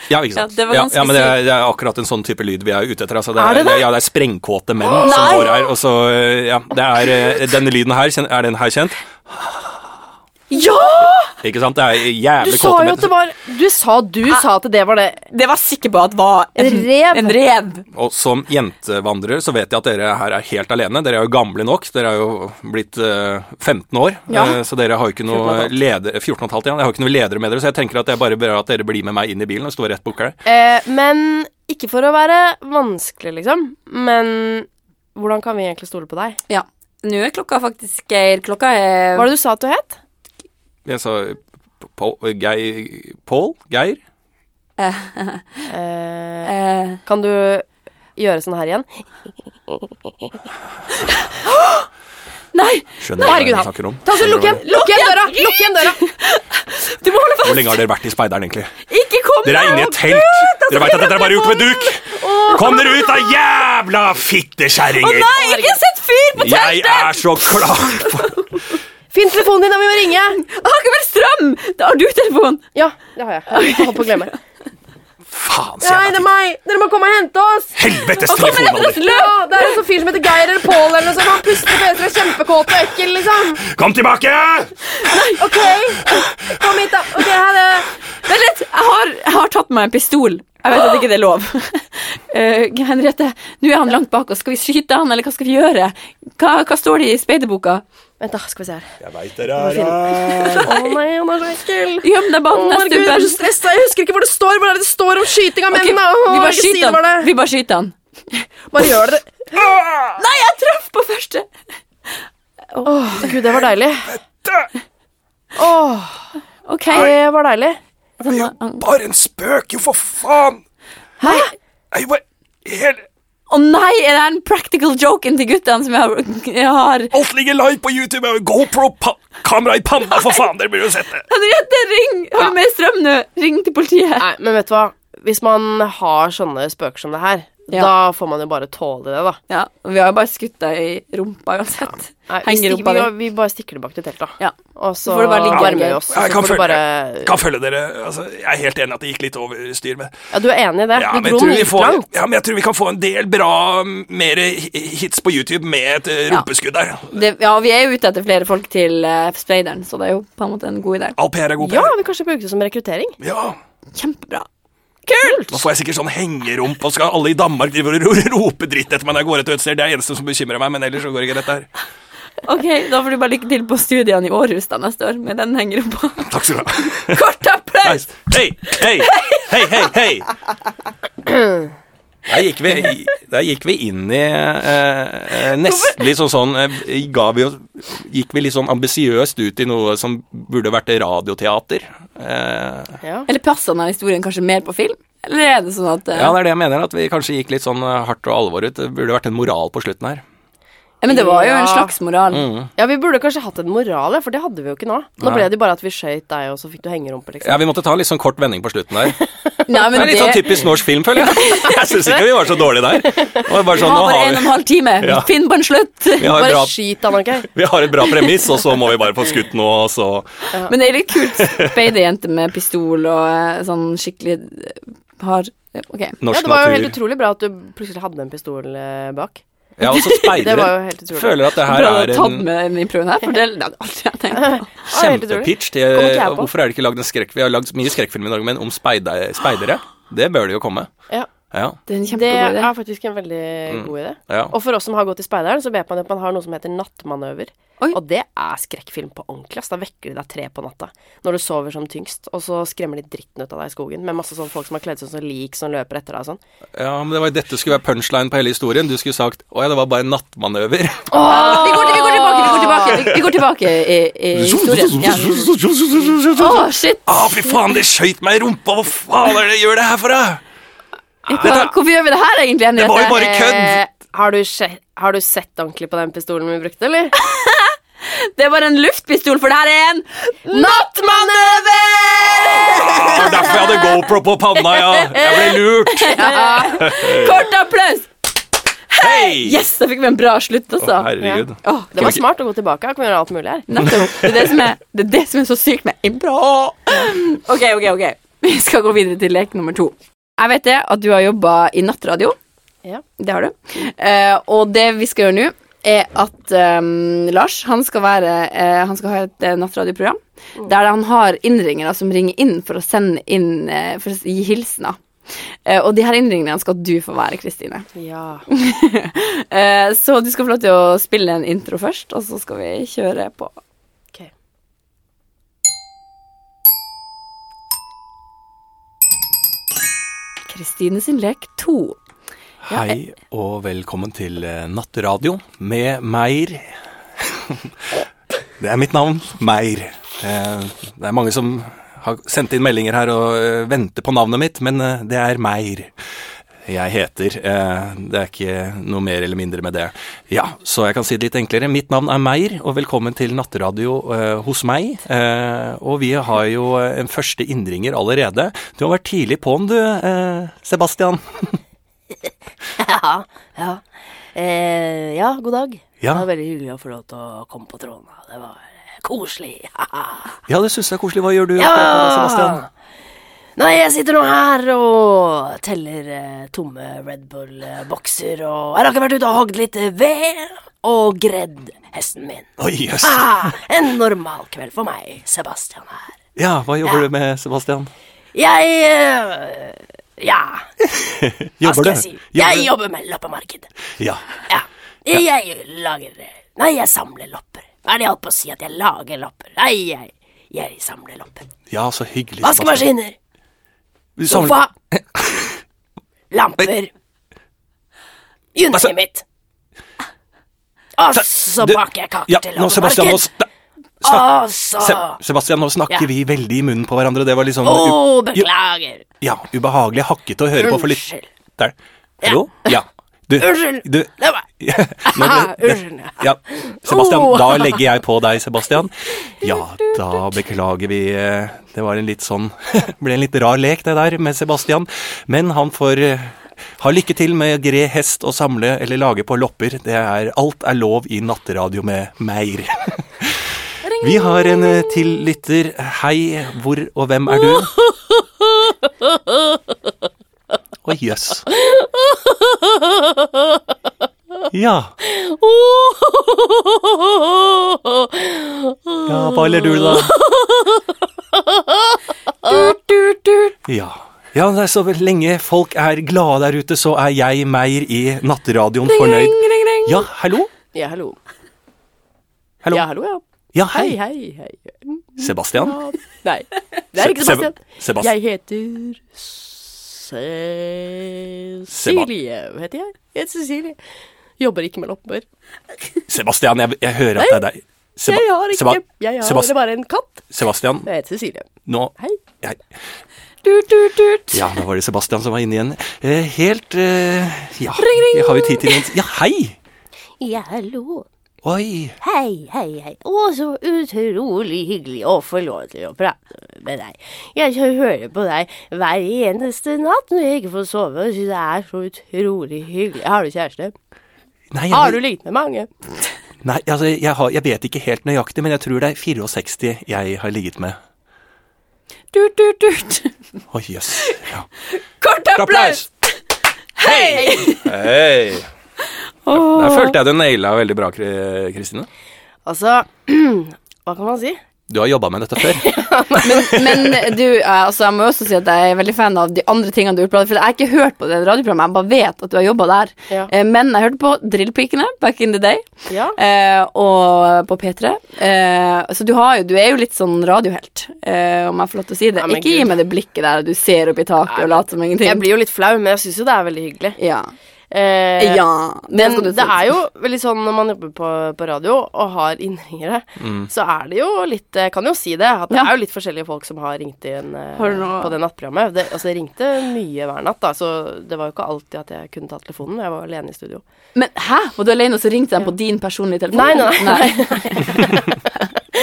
S2: Ja, ikke sant?
S1: Ja, det var
S2: ja,
S1: ganske
S2: ja, men det er, det er akkurat en sånn type lyd vi er ute etter. Altså, det
S4: Er det det?
S2: Ja, det er sprengkåte menn som
S1: Nei!
S2: går her, og så eh, Ja, det er eh, Denne lyden her, kjen- er den her kjent?
S4: Ja!
S2: Ikke sant? Det er
S4: Du
S2: jævlig
S4: sa
S2: kåte
S4: jo at det
S2: menn.
S4: var Du sa du
S1: Ah.
S4: sa at det var det.
S1: Det var sikker på at var en
S4: En rev.
S1: En rev.
S2: Og som jentevandrere så vet jeg at dere her er helt alene. Dere er jo gamle nok. Dere er jo blitt eh, 15 år,
S4: Ja.
S2: eh, så dere har jo ikke noe
S4: 14,5.
S2: ledere 14 og et halvt, ja. Jeg har ikke noe ledere med dere, så jeg tenker at det er bare bra at dere blir med meg inn i bilen og står rett bort her.
S4: Eh, men ikke for å være vanskelig, liksom. Men hvordan kan vi egentlig stole på deg?
S1: Ja. Nå er klokka faktisk, Geir, klokka er
S4: Hva var det du sa at du het?
S2: Jeg sa Pål eh, Geir, Paul? Geir?
S4: Eh,
S1: eh,
S4: kan du gjøre sånn her igjen?
S1: Nei,
S2: Skjønner du hva
S4: Herregud,
S2: jeg
S4: han-
S2: snakker om?
S4: Ta så
S2: Skjønner
S4: Lukk
S2: du hva
S4: igjen lukk igjen døra! Lukk igjen døra!
S1: du må holde
S2: jeg- Hvor
S1: fast!
S2: lenge har dere vært i speideren, egentlig?
S1: Ikke kom
S2: Dere er inne i et telt!
S4: altså,
S2: Dere veit at dette er bare gjort med duk! Kom dere ut, da, jævla
S1: Å
S2: fittekjerringer!
S1: nei, ikke sett fyr på
S2: Jeg
S1: teltet!
S2: er så klar for
S4: Finn telefonen din, da vi må ringe!
S1: Jeg har ikke mer strøm! Da har du telefon.
S4: Ja, det
S2: *laughs*
S4: har jeg. Jeg holdt på å glemme.
S2: Faen,
S4: Nei, det
S2: sier
S4: er
S2: jeg.
S4: meg! Dere må komme og hente oss!
S2: Helvetes
S1: Og kommer
S2: telefonalder!
S1: etter
S4: Ja, det er en sånn fyr som heter Geir eller Pål eller noe sånt. Han puster og peser og er kjempekåt og ekkel, liksom.
S2: Kom tilbake!
S4: OK, kom hit, da. Ok, ha det.
S1: Vent litt, jeg har, jeg har tatt meg en pistol. Jeg vet at ikke det er lov. *laughs* Eh, Henriette, nå er han langt bak oss. Skal vi skyte han, eller hva skal vi gjøre? Hva, hva står det i speiderboka?
S4: Vent, da. Skal vi se her.
S2: Jeg veit dere er her.
S4: Å nei, han er så ekkel.
S1: Gjem deg bak
S4: Å,
S1: den
S4: herregud, jeg er så
S1: stubben.
S4: stressa. Jeg husker ikke hvor det står. Hvor er det det står om skyting av
S1: Ok,
S4: menn? da? Å,
S1: vi bare
S4: ikke si
S1: skyter
S4: det var
S1: han.
S4: det.
S1: Vi bare skyter han.
S4: Bare gjør det.
S2: Ah!
S1: Nei, jeg traff på første!
S4: Åh, Gud, det var deilig. Åh,
S1: OK.
S4: det var deilig.
S1: Sånn, han-
S2: Bare en spøk, jo, for faen!
S4: Hæ?
S2: Jeg bare hele-
S1: Å nei, er det her en practical joken til guttene som jeg har, jeg har.
S2: Alt ligger live på YouTube. Jeg har GoPro-kamera i panna, for faen! Dere burde jo sett det.
S1: Henriette, ring! Har du mer strøm nå? Ring til politiet.
S4: Nei, men vet du hva? Hvis man har sånne spøker som det her,
S1: Ja.
S4: Da får man jo bare tåle det, da.
S1: Ja, og vi har jo bare skutt deg i rumpa uansett.
S4: Nei, vi,
S1: Henger
S4: stikker,
S1: rumpa
S4: vi,
S1: di.
S4: vi bare stikker det bak til teltet, da.
S1: Ja.
S4: Og så
S1: får det bare ligge
S4: armer
S1: der.
S4: vi oss,
S2: Ja,
S4: og
S2: jeg
S4: så
S2: kan
S4: får det
S2: følge,
S4: bare
S2: kan følge dere. Altså, jeg er helt enig at det gikk litt over styr, men
S4: Ja, du er enig i det?
S2: Ja,
S4: du
S2: men, jeg
S4: dro
S2: tror
S4: den
S2: vi
S4: litt
S2: får,
S4: langt.
S2: ja, men jeg tror vi kan få en del bra mm, mer hi- hits på YouTube med et eh, rumpeskudd der.
S1: Det, ja, vi er jo ute etter flere folk til eh, speideren, så det er jo på en måte en god idé.
S2: All PR er god
S4: Ja,
S2: PR.
S4: vi kanskje bruker det som rekruttering.
S2: Ja.
S1: Kjempebra.
S2: Nå får jeg sikkert sånn hengerump, og skal alle i Danmark drive og ro- rope dritt etter meg når jeg går et utested? Det er det eneste som bekymrer meg, men ellers så går ikke dette her.
S1: Ok, da får du bare lykke til på studiene i Århus da neste år, med den hengerumpa.
S2: *laughs* Takk skal du ha.
S1: Kort applaus!
S2: Nice. Hei, hei, hei, hei, hei. Der gikk vi, der gikk vi inn i eh, eh, nesten litt sånn sånn eh, ga vi, oss- Gikk vi litt sånn ambisiøst ut i noe som burde vært radioteater? Eh,
S4: Ja.
S1: Eller passer denne historien kanskje mer på film? Eller er det sånn at eh,
S2: ja, det er det jeg mener, at vi kanskje gikk litt sånn eh, hardt og alvor ut. Det burde vært en moral på slutten her.
S1: ja, Men det var jo en
S4: Ja.
S1: slags moral.
S2: Mm.
S4: ja, vi burde kanskje hatt en moral, ja, for det hadde vi jo ikke nå. Nå ble det jo bare at vi skøyt deg, og så fikk du hengerumpe, liksom.
S2: Ja, vi måtte ta litt sånn kort vending på slutten der.
S1: Nei, men
S2: Det er
S1: det,
S2: litt sånn typisk norsk film, føler
S4: *laughs*
S2: jeg. Jeg syns ikke vi var så dårlige der. Det var bare
S1: vi
S2: sånn,
S1: har
S2: nå
S1: bare
S2: har
S1: en og en
S2: vi,
S1: halv time.
S2: Ja.
S1: Finn på en slutt.
S2: vi har et
S4: Bare
S2: bra
S4: skyt, Anarkei.
S2: vi har et bra premiss, og så må vi bare få skutt nå, og så
S1: Men det er litt kult. Speiderjente med pistol og eh, sånn skikkelig eh, hard eh, Ok.
S4: Ja,
S2: Norsk
S4: det var jo
S2: natur.
S4: helt utrolig bra at du plutselig hadde en pistol eh, bak.
S2: Ja, og så
S4: *laughs* Det var jo
S2: speideren
S4: helt utrolig.
S2: føler at det her
S1: Prøv å
S2: er
S1: ta den
S2: en
S1: med den i prøven her, for det *laughs* det hadde aldri jeg tenkt på.
S4: Ja, helt utrolig.
S2: kjempepitch til
S4: Kommer ikke jeg på.
S2: Hvorfor er det ikke lagd en skrekk? Vi har lagd mye skrekkfilm i Norge, men om speide- speidere? Det bør det jo komme.
S4: Ja.
S2: Ja.
S1: Det er en
S4: Det
S1: kjempegod idé. Mm.
S4: er faktisk en veldig god idé.
S2: ja.
S4: Og for oss som har gått i speideren, så vet man at man har noe som heter nattmanøver.
S1: Oi.
S4: Og det er skrekkfilm på ordentlig. ass. Da vekker de deg tre på natta når du sover som tyngst, og så skremmer de dritten ut av deg i skogen med masse sånn folk som har kledd seg ut som lik som løper etter deg og sånn.
S2: ja, men det var, dette skulle være punchline på hele historien. Du skulle sagt 'Å ja, det var bare en nattmanøver'.
S1: Vi går, til- vi går tilbake, vi går tilbake, vi, vi går tilbake i, i
S2: *laughs*
S1: historien. Ja. Å, shit!
S2: Å, Ah, fy faen, det skøyt meg i rumpa! Hva faen er det jeg gjør det her for, da?
S1: Hva- Hvorfor gjør vi det her egentlig, Henriette?
S2: Ah, Det var jo bare kødd!
S4: Eh, har, du sje- har du sett ordentlig på den pistolen vi brukte, eller?
S1: Eh, Det var en luftpistol, for det her er en nattmanøver!
S2: Ah, Det var derfor jeg hadde GoPro på panna, ja. Jeg ble
S1: *laughs*
S2: lurt.
S1: Kort applaus!
S2: Hei!
S1: Yes, da fikk vi en bra slutt
S2: Å,
S1: også.
S2: herregud.
S1: Åh,
S4: Det var smart å gå tilbake. Her kan vi gjøre alt mulig her.
S1: Nettopp. Det er det som er, det er, det som er så sykt med impro. Ok, ok, ok. Vi skal gå videre til lek nummer to. Jeg vet det at du har jobba i nattradio.
S4: Ja.
S1: Det har du. Eh, og det vi skal gjøre nå, er at eh, Lars han skal, være, eh, han skal ha et eh, nattradioprogram der han har innringere som ringer inn for å sende inn eh, For å gi hilsener. Eh, og de her innringerne skal du få være, Kristine.
S4: Ja.
S1: Eh, så du skal få lov til å spille en intro først, og så skal vi kjøre på.
S4: Ok.
S1: Kristine sin lek to.
S2: Hei og velkommen til eh, Nattradio med Meir. Det er mitt navn, Meir. Eh, Det er mange som har sendt inn meldinger her og eh, venter på navnet mitt, men eh, det er Meir. Jeg heter eh, Det er ikke noe mer eller mindre med det. Ja, så jeg kan si det litt enklere. Mitt navn er Meir, og velkommen til Nattradio eh, hos meg. Eh, og vi har jo eh, en første innringer allerede. Du har vært tidlig på'n, du, eh, Sebastian.
S5: *laughs* Ja. Ja. Eh, ja, god dag.
S2: Ja.
S5: Det var veldig hyggelig å få lov til å komme på tråden. da. Det var eh, koselig. *laughs*
S2: Ja, det syns jeg er koselig. Hva gjør du?
S5: Ja!
S2: Sebastian?
S5: Nei, jeg sitter nå her og teller eh, tomme Red Bull-bokser, og jeg har ikke vært ute og hogd litt ved og gredd hesten min.
S2: Oi, jøss.
S5: Ah, en normal kveld for meg, Sebastian her.
S2: Ja, hva jobber du med, Sebastian?
S5: Jeg eh, Ja, hva
S2: Jobber
S5: skal
S2: du?
S5: jeg si? Jeg
S2: du?
S5: jobber med loppemarked.
S2: Ja.
S5: Ja. Jeg lager Nei, jeg samler lopper. Hva er det jeg holdt på å si? At jeg lager lopper? Nei, jeg, jeg samler lopper.
S2: ja, så hyggelig. Sebastian.
S5: Vaskemaskiner,
S2: Du samler- *laughs*
S5: sofa, lamper You
S2: Altså-
S5: name it. Og så
S2: du-
S5: baker jeg kaker
S2: Ja,
S5: til
S2: nå, Sebastian, nå
S5: loppemarked.
S2: sna-
S5: Og så
S2: Se Sebastian, nå snakker
S5: Ja.
S2: vi veldig i munnen på hverandre. Det var litt sånn
S5: Å,
S2: u-
S5: beklager.
S2: Ja, ubehagelig hakkete å høre på for litt
S5: Unnskyld.
S2: Der. Hallo? Ja. Du,
S5: Unnskyld.
S2: du *laughs*
S5: Det var
S2: Nå ble-
S5: Unnskyld.
S2: Ja, Sebastian,
S5: Oh.
S2: da legger jeg på deg, Sebastian. Ja, da beklager vi. *laughs* eh, Det var en litt sånn Ble en litt rar lek, det der, med Sebastian. Men han får eh, Ha lykke til med å gre hest og samle eller lage på lopper. Det er, alt er lov i natteradio med Meir. *laughs* Vi har en eh, til lytter. Hei, hvor og hvem er du? Å, jøss. Ja. *laughs* ja, hva ler du
S4: *laughs*
S2: da? Ja. ja, det er så lenge folk er glade der ute, så er jeg Meir i natteradioen fornøyd. Ja, hallo?
S4: Ja, hallo.
S2: Hallo.
S4: Ja, hallo, ja.
S2: Ja,
S4: Hei,
S2: hei.
S4: hei, hei.
S2: Sebastian.
S4: Ja. Nei, det er ikke
S2: Se- Seb-
S4: Sebastian.
S2: Sebast-
S4: Jeg heter Cecilie, heter jeg. Jeg heter Cecilie. Jobber ikke med lopper.
S2: Sebastian, jeg, jeg hører at det er deg. Seba-
S4: Jeg har ikke
S2: Seba-
S4: Jeg har
S2: Sebast-
S4: bare en katt.
S2: Sebastian,
S4: Jeg heter Cecilie.
S2: nå
S4: Hei.
S2: Hei.
S1: Tut, tut, tut.
S2: Ja, da var det Sebastian som var inne igjen. Eh, helt eh, Ja, jeg har jo tid til noen Ja, hei!
S5: Ja, hallo.
S2: Oi.
S5: Hei, hei, hei. Å, så utrolig hyggelig å få lov til å prate med deg. Jeg skal høre på deg hver eneste natt når jeg ikke får sove. og synes det er så utrolig hyggelig. Har du kjæreste?
S2: Nei, jeg,
S4: Har du ligget med mange?
S2: nei altså, jeg, har, jeg vet ikke helt nøyaktig, men jeg tror det er 64 jeg har ligget med.
S1: Tut, tut, tut.
S2: Å, jøss. Ja.
S1: Kort applaus!
S2: Hei! Hei! Der følte jeg du naila veldig bra, Kri- Kristine.
S4: Altså, *clears throat* hva kan man si?
S2: Du har jobba med dette før.
S1: *laughs* Men du, eh, altså, jeg må jo også si at jeg er veldig fan av de andre tingene du har gjort. på radio, For jeg har ikke hørt på det radioprogrammet, jeg bare vet at du har jobba der.
S4: Ja.
S1: Eh, Men jeg hørte på Drillpikene back in the day,
S4: Ja.
S1: eh, og på P3. Eh, Så du, har jo, du er jo litt sånn radiohelt, eh, om jeg får lov til å si det.
S4: Ja, men
S1: ikke gi
S4: Gud.
S1: meg det blikket der du ser opp i taket og later som ingenting.
S4: Jeg blir jo litt flau, men jeg syns jo det er veldig hyggelig.
S1: Ja.
S4: Eh,
S1: ja. Det
S4: Men
S1: skal du
S4: det
S1: si.
S4: er jo veldig sånn når man jobber på, på radio og har innringere, så er det jo litt Jeg kan jo si det, at det
S1: Ja.
S4: er jo litt forskjellige folk som har ringt inn eh,
S1: Har du noe-
S4: på det nattprogrammet. Det, altså, jeg ringte mye hver natt, da, så det var jo ikke alltid at jeg kunne ta telefonen. Jeg var alene i
S1: *laughs*
S4: studio.
S1: Men hæ? Var du alene og så ringte de på din personlige telefon?
S4: Nei, nei, *laughs*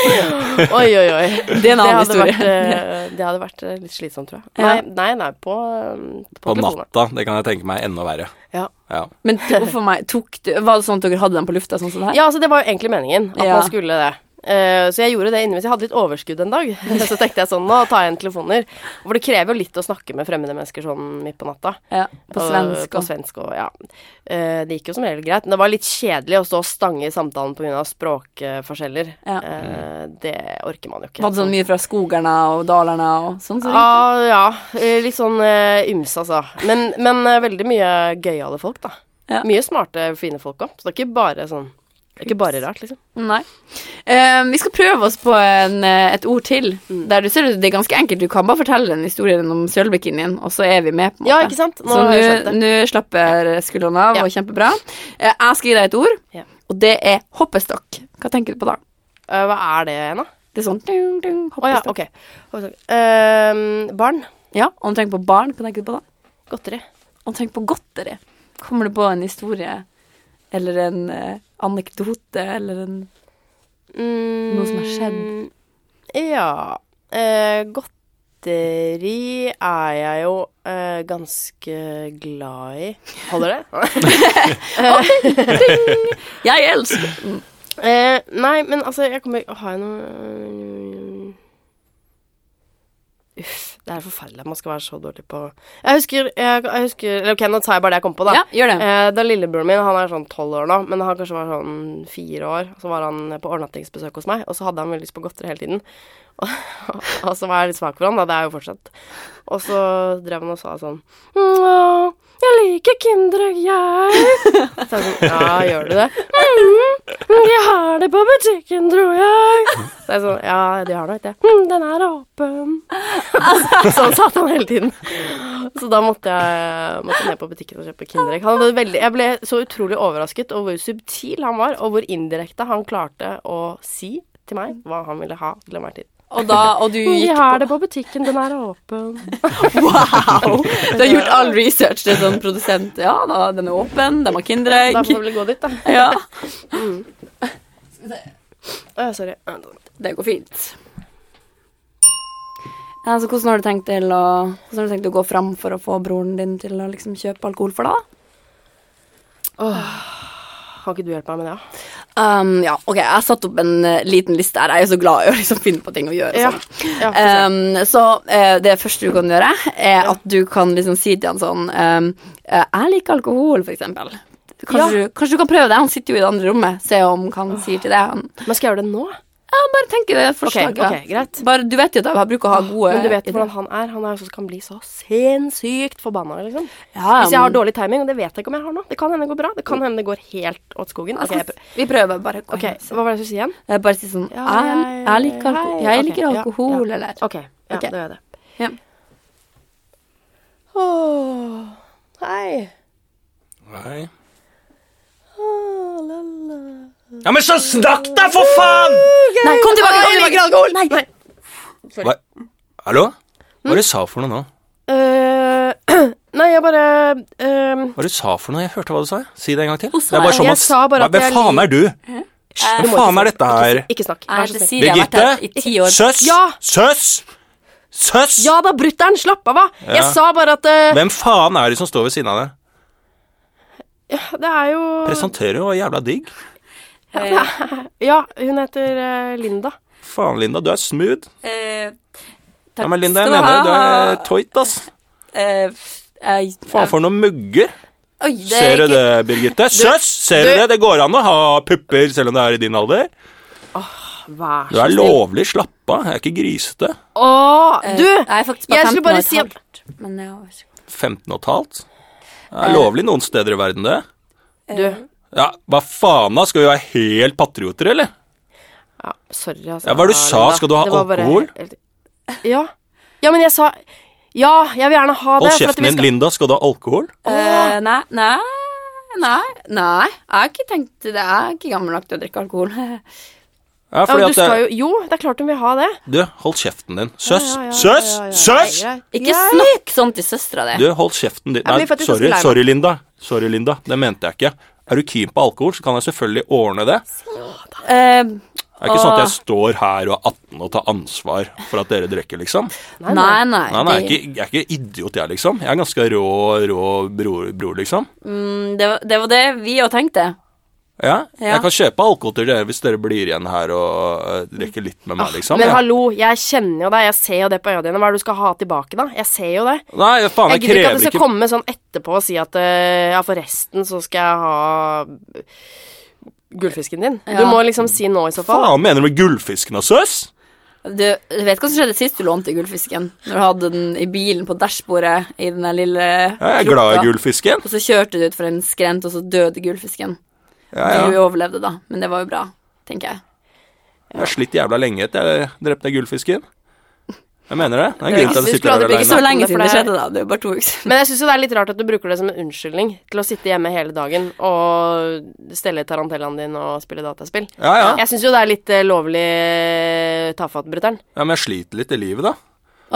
S4: Oi, oi, oi.
S1: Det er en annen
S4: hadde
S1: historie.
S4: Vært,
S1: *laughs*
S4: eh, det hadde vært eh, litt slitsomt, tror jeg.
S1: Ja.
S4: Nei, nei, nei på, eh, på,
S2: På
S4: telefonen.
S2: natta. Det kan jeg tenke meg enda verre.
S4: Ja.
S2: Ja.
S1: Men for meg, tok du, var det sånn at dere hadde dem på lufta sånn som det her?
S4: Ja, altså det var jo egentlig meningen at
S1: Ja.
S4: man skulle det. Eh, så jeg gjorde det innimens. Jeg hadde litt overskudd en dag. *laughs* så tenkte jeg sånn, nå tar jeg inn telefoner. For det krever jo litt å snakke med fremmede mennesker sånn midt på natta.
S1: Ja, på
S4: Og-
S1: svensk
S4: På
S1: og
S4: svensk og ja. Eh, det gikk jo som regel greit. Men det var litt kjedelig å stå og stange i samtalen pga. språkforskjeller.
S1: Ja.
S4: Eh, det orker man jo ikke.
S1: Var det sånn mye fra skogarna og dalarna og sånn? Så ringte?
S4: Ah, ja, eh, litt sånn eh, ymse, altså. Men, men eh, veldig mye gøyale folk, da.
S1: Ja.
S4: Mye smarte, fine folk òg. Så det er ikke bare sånn Det er ikke bare rart, liksom.
S1: Nei. Eh, vi skal prøve oss på en, eh, et ord til.
S4: Mm.
S1: Der du ser at Det er ganske enkelt. Du kan bare fortelle den historien om sølvbikinien, og så er vi med. på en måte.
S4: Ja, ikke sant? Nå
S1: så
S4: har jeg skjønt
S1: nå-
S4: det.
S1: nå slapper skuldrene av,
S4: Ja.
S1: og kjempebra. Eh, jeg skal gi deg et ord,
S4: Ja.
S1: og det er hoppestokk. Hva tenker du på da?
S4: Eh, hva er det igjen, da?
S1: Det er sånn ding, ding,
S4: Å ja,
S1: hoppestokk.
S4: ok. Ehm, barn.
S1: Ja, og om du tenker på barn, hva tenker du på da?
S4: Godteri.
S1: Om du tenker på godteri, kommer du på en historie eller en eh, anekdote eller en
S4: Mm,
S1: Noe som har skjedd.
S4: Ja. Eh, godteri er jeg jo eh, ganske glad i. Holder det?
S1: Jeg elsker Mm.
S4: eh, nei, men altså, jeg kommer Har jeg noe øh, Uff. Det er forferdelig at man skal være så dårlig på Jeg husker, jeg, jeg husker eller Ok, nå tar jeg bare det jeg kom på, da.
S1: Ja, gjør det.
S4: Eh, da lillebroren min, han er sånn tolv år nå, men han kanskje var sånn fire år, så var han på overnattingsbesøk hos meg, og så hadde han veldig lyst på godteri hele tiden. *laughs* Og, og så var jeg litt svak for han, da, det er jo fortsatt. Og så drev han og sa sånn Nå, jeg liker Kinderegg, jeg. *laughs* Så jeg sånn, ja, gjør du det? Mm, men de har det på butikken, tror jeg. Så jeg sånn, ja, de har det, vet jeg. Mm, den er åpen. Sånn satt han hele tiden. Så da måtte jeg måtte ned på butikken og kjøpe Kinderegg. Han hadde veldig, jeg ble så utrolig overrasket over hvor subtil han var, og hvor indirekte han klarte å si til meg hva han ville ha til enhver tid.
S1: Og, da, og du
S4: Vi *laughs*
S1: gikk
S4: har det på butikken, den er *laughs* åpen.
S1: Wow! Du har gjort all research. Det er sånn produsent Ja da, den er åpen, de har
S4: Da
S1: Kinderegg.
S4: får vi vel gå dit, da.
S1: *laughs* Ja,
S4: Å, sorry.
S1: det går fint. Ja, så hvordan har du tenkt til å, hvordan har du tenkt å gå fram for å få broren din til å liksom kjøpe alkohol for deg? da?
S4: Kan ikke du hjelpe meg med det? da?
S1: Um, ja, ok, Jeg har satt opp en eh, liten liste her. Jeg er jo så glad i å liksom finne på ting å gjøre.
S4: Ja,
S1: og sånn.
S4: ja,
S1: um, så eh, det første du kan gjøre, er at du kan liksom si til han sånn um, eh, Jeg liker alkohol, for eksempel. Kanskje, du, kanskje du kan prøve det? Han sitter jo i det andre rommet. Se om hva han sier til det. Han,
S4: Men skal jeg gjøre det nå?
S1: ja, bare tenk i det
S4: Ok,
S1: forslaget.
S4: ok, greit.
S1: Bare, du vet jo at jeg bruker å ha gode
S4: Men du vet
S1: ideer.
S4: hvordan han er. Han er jo sånn som kan bli så sinnssykt forbanna, liksom.
S1: Ja,
S4: Hvis jeg har
S1: men-
S4: dårlig timing, og det vet jeg ikke om jeg har nå. Det kan hende det går bra. Det kan hende det går helt åt skogen.
S1: Jeg
S4: Ok,
S1: skal-
S4: jeg prø-
S1: Vi prøver bare. å gå
S4: ok,
S1: inn.
S4: hva var det jeg skulle si igjen?
S1: Jeg Bare si sånn
S4: Ja,
S1: Jeg, altså. jeg liker alkohol,
S4: hei,
S1: jeg
S4: ok,
S1: liker
S4: ja,
S1: alkohol
S4: ja.
S1: eller
S4: Ok, ja,
S1: Ok.
S4: det gjør jeg det.
S1: Ja.
S4: Åh, hei.
S2: Nei.
S4: Åh, la, la.
S2: Ja, men så snakk da, for faen!
S1: Nei, kom tilbake! Kom tilbake.
S4: alkohol! Nei.
S2: Hva? Hallo? Hva er det du sa for noe nå?
S4: Eh, *clears throat* nei, jeg bare eh,
S2: Hva er det du sa for noe? Jeg hørte hva du sa. Si det en gang til.
S1: Hun sa
S2: Det er
S1: det.
S2: bare sånn
S4: Jeg
S2: at,
S4: sa bare
S2: Hva-
S4: at jeg
S2: Hvem faen
S4: lik-
S2: er du?
S4: du
S2: Hva faen
S4: må ikke
S2: er dette her?
S4: Ikke snakk.
S1: Jeg
S4: Vær
S1: heter
S4: så snill.
S1: Siri, jeg har vært her i
S2: Birgitte?
S1: ti år.
S2: Søss?
S4: Ja.
S2: Søss? Søss?
S4: Ja da, brutter'n, slapp av, hva?
S2: Ja.
S4: Jeg sa bare at eh,
S2: *laughs* Hvem faen er det som står ved siden av deg?
S4: det er jo
S2: Presenterer jo jævla digg.
S4: Ja, hun heter eh, Linda.
S2: Faen, Linda, du er smooth.
S1: Eh,
S2: Ja, men Linda, jeg
S1: skal du
S2: mener det. Du
S1: ha.
S2: er toit, ass.
S1: eh, jeg-
S2: Faen for noen mugger.
S1: Oi, det er
S2: Ser du
S1: ikke-
S2: det, Birgitte? Søss! Ser du
S4: du-
S2: det? Det går an å ha pupper selv om det er i din alder.
S4: Vær
S2: Du er lovlig slappa. Jeg er ikke grisete.
S4: Å,
S1: Eh,
S4: du!
S1: Jeg er faktisk bare
S4: jeg skulle
S1: 15
S4: bare
S1: år
S4: si at-
S1: halvt, men jeg har ikke-
S2: 15 og et halvt. Det er lovlig noen steder i verden, det.
S4: Du.
S1: eh.
S2: Ja, hva faen da? Skal vi være helt patrioter, eller?
S4: Ja, sorry, altså.
S2: Ja, hva er det du sa?
S4: Linda.
S2: Skal du ha
S4: Det var bare-
S2: alkohol?
S4: Ja. Ja, men jeg sa Ja, jeg vil gjerne ha det.
S2: Hold
S4: for at vi
S2: kjeften din,
S4: skal-
S2: Linda. Skal du ha alkohol?
S1: Eh, Nei, nei, nei, nei. Jeg har ikke tenkt det. Jeg er ikke gammel nok til å drikke alkohol. *laughs*
S2: Ja,
S4: Ja, men
S2: fordi
S4: du
S2: at
S4: skal
S2: det,
S4: jo Jo, det er klart hun vil ha det.
S2: Du, hold kjeften din. Søss!
S4: Ja, ja, ja,
S2: Søss!
S4: ja, ja, ja.
S2: Søss!
S4: Nei, jeg-
S1: Ikke
S4: jeg-
S1: snakk sånn til søstera
S2: Du,
S1: di.
S2: hold kjeften din.
S4: Jeg blir
S2: Nei,
S4: faktisk
S2: sorry,
S4: ganske lei meg.
S2: sorry, Linda. Sorry, Linda. Det mente jeg ikke. Er du keen på alkohol, så kan jeg selvfølgelig ordne det.
S1: Eh,
S2: Det er ikke sånn at jeg
S1: Åh.
S2: står her og er 18 og tar ansvar for at dere drikker, liksom.
S1: Nei, nei.
S2: Nei, nei, jeg er
S1: det-
S2: ikke, jeg er ikke idiot, jeg, liksom. Jeg er ganske rå, rå bror, bror liksom.
S1: mm, det, var- det var det vi òg tenkte.
S2: Ja,
S1: Ja.
S2: Jeg kan kjøpe alkohol til dere hvis dere blir igjen her og øh, drikker litt med meg, liksom.
S4: Ah, Men
S2: Ja.
S4: hallo, jeg kjenner jo deg, jeg ser jo det på øya dine. Hva er det du skal ha tilbake, da? Jeg ser jo det.
S2: Nei, faen, jeg,
S4: Jeg gidder ikke at
S2: krever
S4: du skal
S2: ikke
S4: komme sånn etterpå og si at eh, ja, forresten så skal jeg ha gullfisken din. Du
S1: Ja.
S4: må liksom si nå i så fall.
S2: Faen, mener du med gullfisken og søs?
S1: Du, du vet hva som skjedde sist du lånte gullfisken? Når du hadde den i bilen på dashbordet i den der lille
S2: Jeg er glad i
S1: krukka.
S2: gullfisken.
S1: Og så kjørte du utfor en skrent, og så døde gullfisken.
S2: Ja, ja.
S1: Du overlevde, da, men det var jo bra, tenker jeg.
S2: Jeg har slitt jævla lenge etter jeg drepte den gullfisken. Jeg mener det. Det er en
S4: Det
S2: grunn til at jeg
S4: synes du
S2: sitter
S4: aldri
S2: her
S1: Det er ikke så
S2: alene.
S4: lenge
S1: lenge
S4: siden
S1: siden det
S4: det
S1: skjedde, da. Det er jo bare to uker siden.
S4: Men jeg syns jo det er litt rart at du bruker det som en unnskyldning til å sitte hjemme hele dagen og stelle tarantellaen din og spille dataspill.
S2: Ja, ja.
S4: Jeg syns jo det er litt eh, lovlig eh, tafatt, brutter'n.
S2: ja, men jeg sliter litt i livet, da.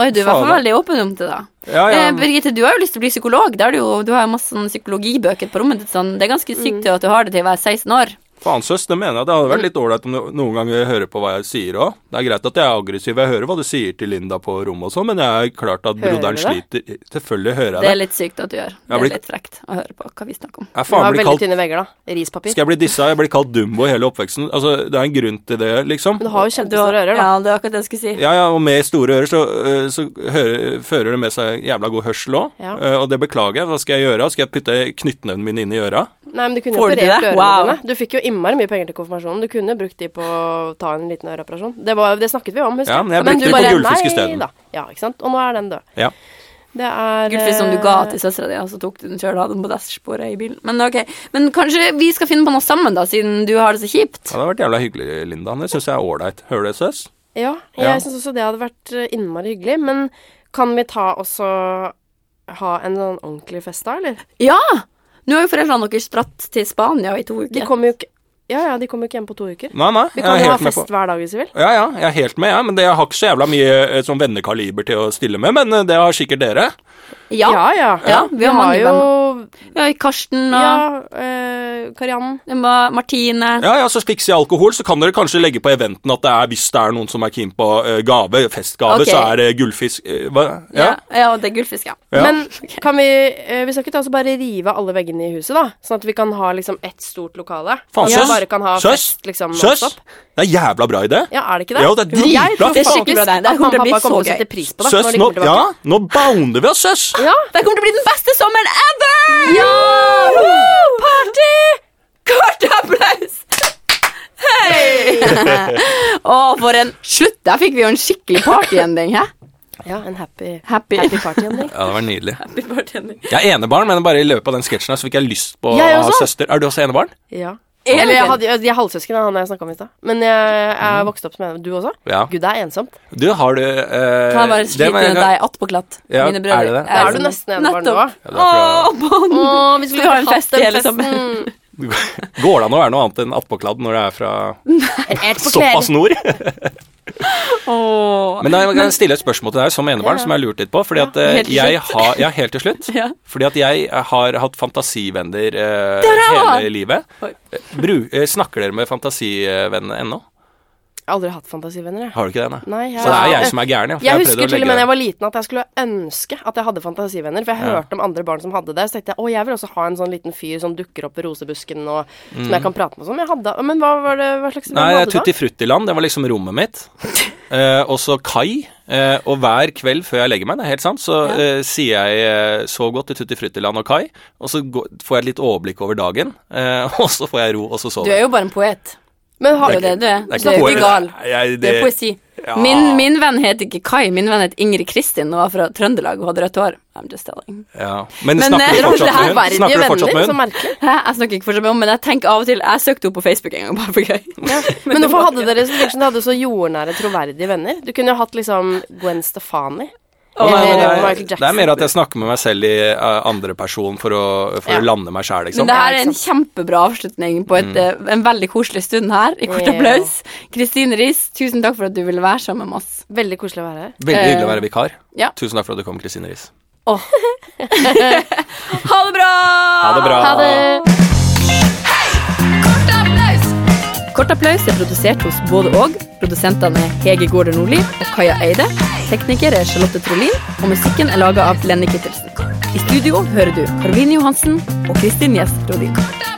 S1: Oi, du er i hvert fall
S2: Fader.
S1: veldig åpen om det, da.
S2: Ja, ja.
S1: Eh, Birgitte, du har jo lyst til å bli psykolog. Det har du, jo, du har jo masse sånn psykologibøker på rommet ditt. Sånn. Det er ganske sykt at du har det til å være 16 år.
S2: Faen, søs, det mener jeg. Det hadde vært litt ålreit om du noen ganger hører på hva jeg sier òg. Det er greit at jeg er aggressiv, jeg hører hva du sier til Linda på rommet og sånn, men jeg er klart at
S4: Hører du
S2: broderen sliter. Selvfølgelig
S1: Det er
S2: hører jeg det.
S1: litt sykt at du gjør.
S2: Jeg
S1: Det
S2: blir-
S1: er litt frekt å høre på hva vi snakker om.
S2: Jeg
S4: Du
S2: faen
S4: har
S2: blir
S4: veldig
S2: kalt
S4: tynne vegger, da. Rispapir.
S2: Skal jeg bli dissa? Jeg blir kalt Dumbo i hele oppveksten. Altså, det er en grunn til det, liksom.
S4: Men du har jo kjempestore ører, da.
S1: Ja, det er akkurat det jeg skulle si.
S2: Ja, ja, og med store ører så, øh, så hører, fører det med seg jævla god hørsel òg.
S4: Ja.
S2: Og det beklager jeg. Hva skal jeg gjøre? Skal jeg putte knyttneven min inn i øra?
S4: Nei, men du kunne jo
S1: Får du til
S4: operert
S1: det?
S4: ørene
S1: Wow.
S4: dine. Du fikk jo innmari mye penger til konfirmasjonen. Du kunne brukt de på å ta en liten øreoperasjon. Det, var, det snakket vi om, husker
S2: Ja, men jeg brukte
S4: du
S2: de på
S4: bare,
S2: gullfisk
S4: nei
S2: isteden.
S4: da. Ja, ikke sant. Og nå er den død.
S2: Ja.
S4: Det er
S1: Gullfisk som du
S4: eh,
S1: ga til søstera di, og så tok du den sjøl og hadde den på dashbordet i bilen. Men ok, men kanskje vi skal finne på noe sammen, da, siden du har det så kjipt.
S2: Ja, det hadde vært jævla hyggelig, Linda. Det syns jeg er ålreit. Hører du det, søs?
S4: Ja, jeg
S2: Ja.
S4: syns også det hadde vært eh, innmari hyggelig. Men kan vi ta også ha en sånn ordentlig fest da, eller?
S1: Ja! Nå har jo foreldrene deres dratt til Spania i to
S4: De
S1: uker.
S4: kommer jo ikke Ja ja, de kommer jo ikke hjem på to uker.
S2: Nei, nei.
S4: Vi
S2: Jeg
S4: kan
S2: er
S4: jo ha
S2: helt med på
S4: fest hver dag hvis vi vil.
S2: ja, ja, jeg er helt med, jeg. Ja. Men det, jeg har ikke så jævla mye eh, sånn vennekaliber til å stille med, men eh, det har sikkert dere.
S1: Ja.
S4: ja. ja.
S1: Ja, vi
S4: vi
S1: har
S4: har
S1: mange
S4: jo
S1: ja Karsten og
S4: Ja, eh, Karianne.
S1: Ma- Martine.
S2: Ja, ja, så Slik i alkohol så kan dere kanskje legge på eventen at det er, hvis det er noen som er keen på eh, gave, festgave,
S1: Ok.
S2: så er det gullfisk eh, hva? Ja.
S1: Ja, ja, og det er gullfisk, ja.
S2: Ja.
S4: *laughs* Men kan vi eh, Vi skal ikke ta oss og bare rive av alle veggene i huset, da? Sånn at vi kan ha liksom ett stort lokale.
S2: Faen,
S4: At vi
S2: søs!
S4: bare kan ha
S2: Søs!
S4: fest, liksom,
S2: Søs!
S4: nonstop.
S2: Det er en jævla bra idé.
S4: Ja, er det ikke det?
S2: Jo, det er
S4: Jo, jeg
S2: dritbra,
S4: tror
S2: faen. Det er
S1: skikkelig bra idé.
S4: faktisk
S1: Det
S4: at
S1: kommer
S4: mamma
S1: til å
S4: og
S1: bli så
S4: pappa kommer til å
S1: gøy.
S4: sette pris på det.
S2: søs,
S4: når de
S2: nå,
S4: kommer
S2: ja,
S4: tilbake.
S2: nå bounder vi oss, søs!
S4: Ja.
S1: Det kommer til å bli den beste sommeren ever!
S4: Ja!
S1: Woo! Party! Kort applaus!
S2: *laughs*
S1: Hei! Å, for en slutt! Der fikk vi jo en skikkelig partyending, hæ?
S4: ja, en happy,
S1: Happy,
S4: happy party, Henrik.
S2: Ja, det var nydelig.
S1: happy partyending.
S2: Jeg er enebarn, men bare i løpet av den sketsjen her så fikk jeg lyst på å
S4: Jeg
S2: ha
S4: også.
S2: søster. Er du også enebarn?
S4: *laughs* Ja.
S1: Elgen.
S4: Eller jeg, hadde, jeg, de er halvsøsken, han jeg snakka om i stad. Men jeg, jeg vokste opp med Du også?
S2: Ja.
S4: Gud, det er
S2: *laughs*
S4: ensomt.
S2: Du, har du eh,
S1: Kan jeg bare
S2: det
S1: slite
S2: må jeg-
S1: med deg attpåklatt?
S2: Ja,
S1: Mine brødre.
S2: er det det?
S4: Da er du nesten enebarn nå.
S1: Nettopp.
S2: Ja, det er
S1: Å, Bond.
S4: Å, vi
S1: Du
S4: skulle
S1: har
S4: ikke
S1: en
S4: hatt
S1: fest i
S4: den
S1: hele sommeren.
S4: festen. *laughs*
S2: *laughs* Går det an å være noe annet enn attpåkladd når det er fra
S5: Helt på
S2: såpass
S5: kvelden.
S2: nord?
S1: Å.
S2: Men da kan jeg stille et spørsmål til deg som enebarn, som jeg har lurt litt på. Fordi at eh,
S1: helt til
S2: jeg har Ja, helt til
S4: *laughs*
S2: slutt.
S1: Ja.
S2: Fordi at jeg eh, har hatt fantasivenner eh,
S1: har
S2: hele livet.
S1: Oi.
S2: Eh, Bru, eh, snakker dere med fantasivenner ennå?
S4: Jeg har aldri hatt fantasivenner, jeg.
S2: Har du ikke det? Nei.
S4: Nei, jeg
S2: Så det er jeg som er gæren, ja. for
S4: Jeg
S2: har prøvd å
S4: husker til
S2: legge
S4: og med da
S2: det.
S4: jeg var liten at jeg skulle ønske at jeg hadde fantasivenner. For jeg hørte om andre barn som hadde det. Så tenkte jeg å, jeg vil også ha en sånn liten fyr som dukker opp i rosebusken og som jeg kan prate med og sånn. Men jeg hadde Men hva var det Hva slags
S2: Mm.
S4: venn
S2: Nei,
S4: hadde du da?
S2: Tutti Fruttiland, det var liksom rommet
S4: *laughs*
S2: mitt. Eh, og så Kai. Eh, og hver kveld før jeg legger meg, det er helt sant, så eh, sier jeg eh, så godt til Tutti Fruttiland og Kai, og så går, får jeg et litt overblikk over dagen, eh, *laughs* og så får jeg ro, og så
S1: Du
S2: sover
S1: er jo bare en poet.
S4: Men
S1: Det
S4: har
S1: er jo
S4: du
S1: det du er. Du er jo
S2: poe-
S1: ikke gal.
S2: Jeg,
S1: Det er poesi.
S2: Ja.
S1: Min, min venn het ikke Kai, min venn het Ingrid Kristin og var fra Trøndelag og hadde rødt hår. I'm just telling.
S2: Ja. Men,
S1: Men,
S2: snakker
S1: eh,
S2: du
S4: det
S2: fortsatt
S4: her
S2: med hun?
S4: verdige
S2: Snakker du fortsatt
S4: venner,
S2: med
S4: så
S2: hun?
S4: merkelig.
S1: Hæ? Jeg snakker ikke fortsatt med henne, men jeg tenker av og til Jeg søkte henne på Facebook en gang, *laughs* bare for gøy.
S4: *laughs* Men hvorfor hadde dere så virker som dere hadde så jordnære, troverdige venner? Du kunne jo hatt liksom Gwen Stefani.
S2: Å, nei, nei,
S4: Eller
S2: nei,
S4: Michael Jackson.
S2: Det er mer at jeg snakker med meg selv i eh, andre person for å, for å
S4: Ja.
S2: lande meg sjæl,
S1: Men
S2: liksom.
S1: det her er en kjempebra avslutning på et, eh, en veldig koselig stund her i kort
S4: Ja.
S1: applaus. Kristine Riis, tusen takk for at du ville være sammen med oss.
S4: Veldig koselig å være her.
S2: Veldig hyggelig å være vikar.
S1: Eh, ja.
S2: Tusen takk for at du kom, Kristine Riis.
S1: Ha det bra!
S2: Ha det bra.
S3: Kort applaus.
S1: Kort applaus er produsert hos både og. Produsentene er Hege Gaarder Nordli og Kaja Eide. Tekniker er Charlotte Trolin, og musikken er laga av Lenny Kittelsen. I studio hører du Karoline Johansen og Kristin Gjest Rodin.
S3: Kort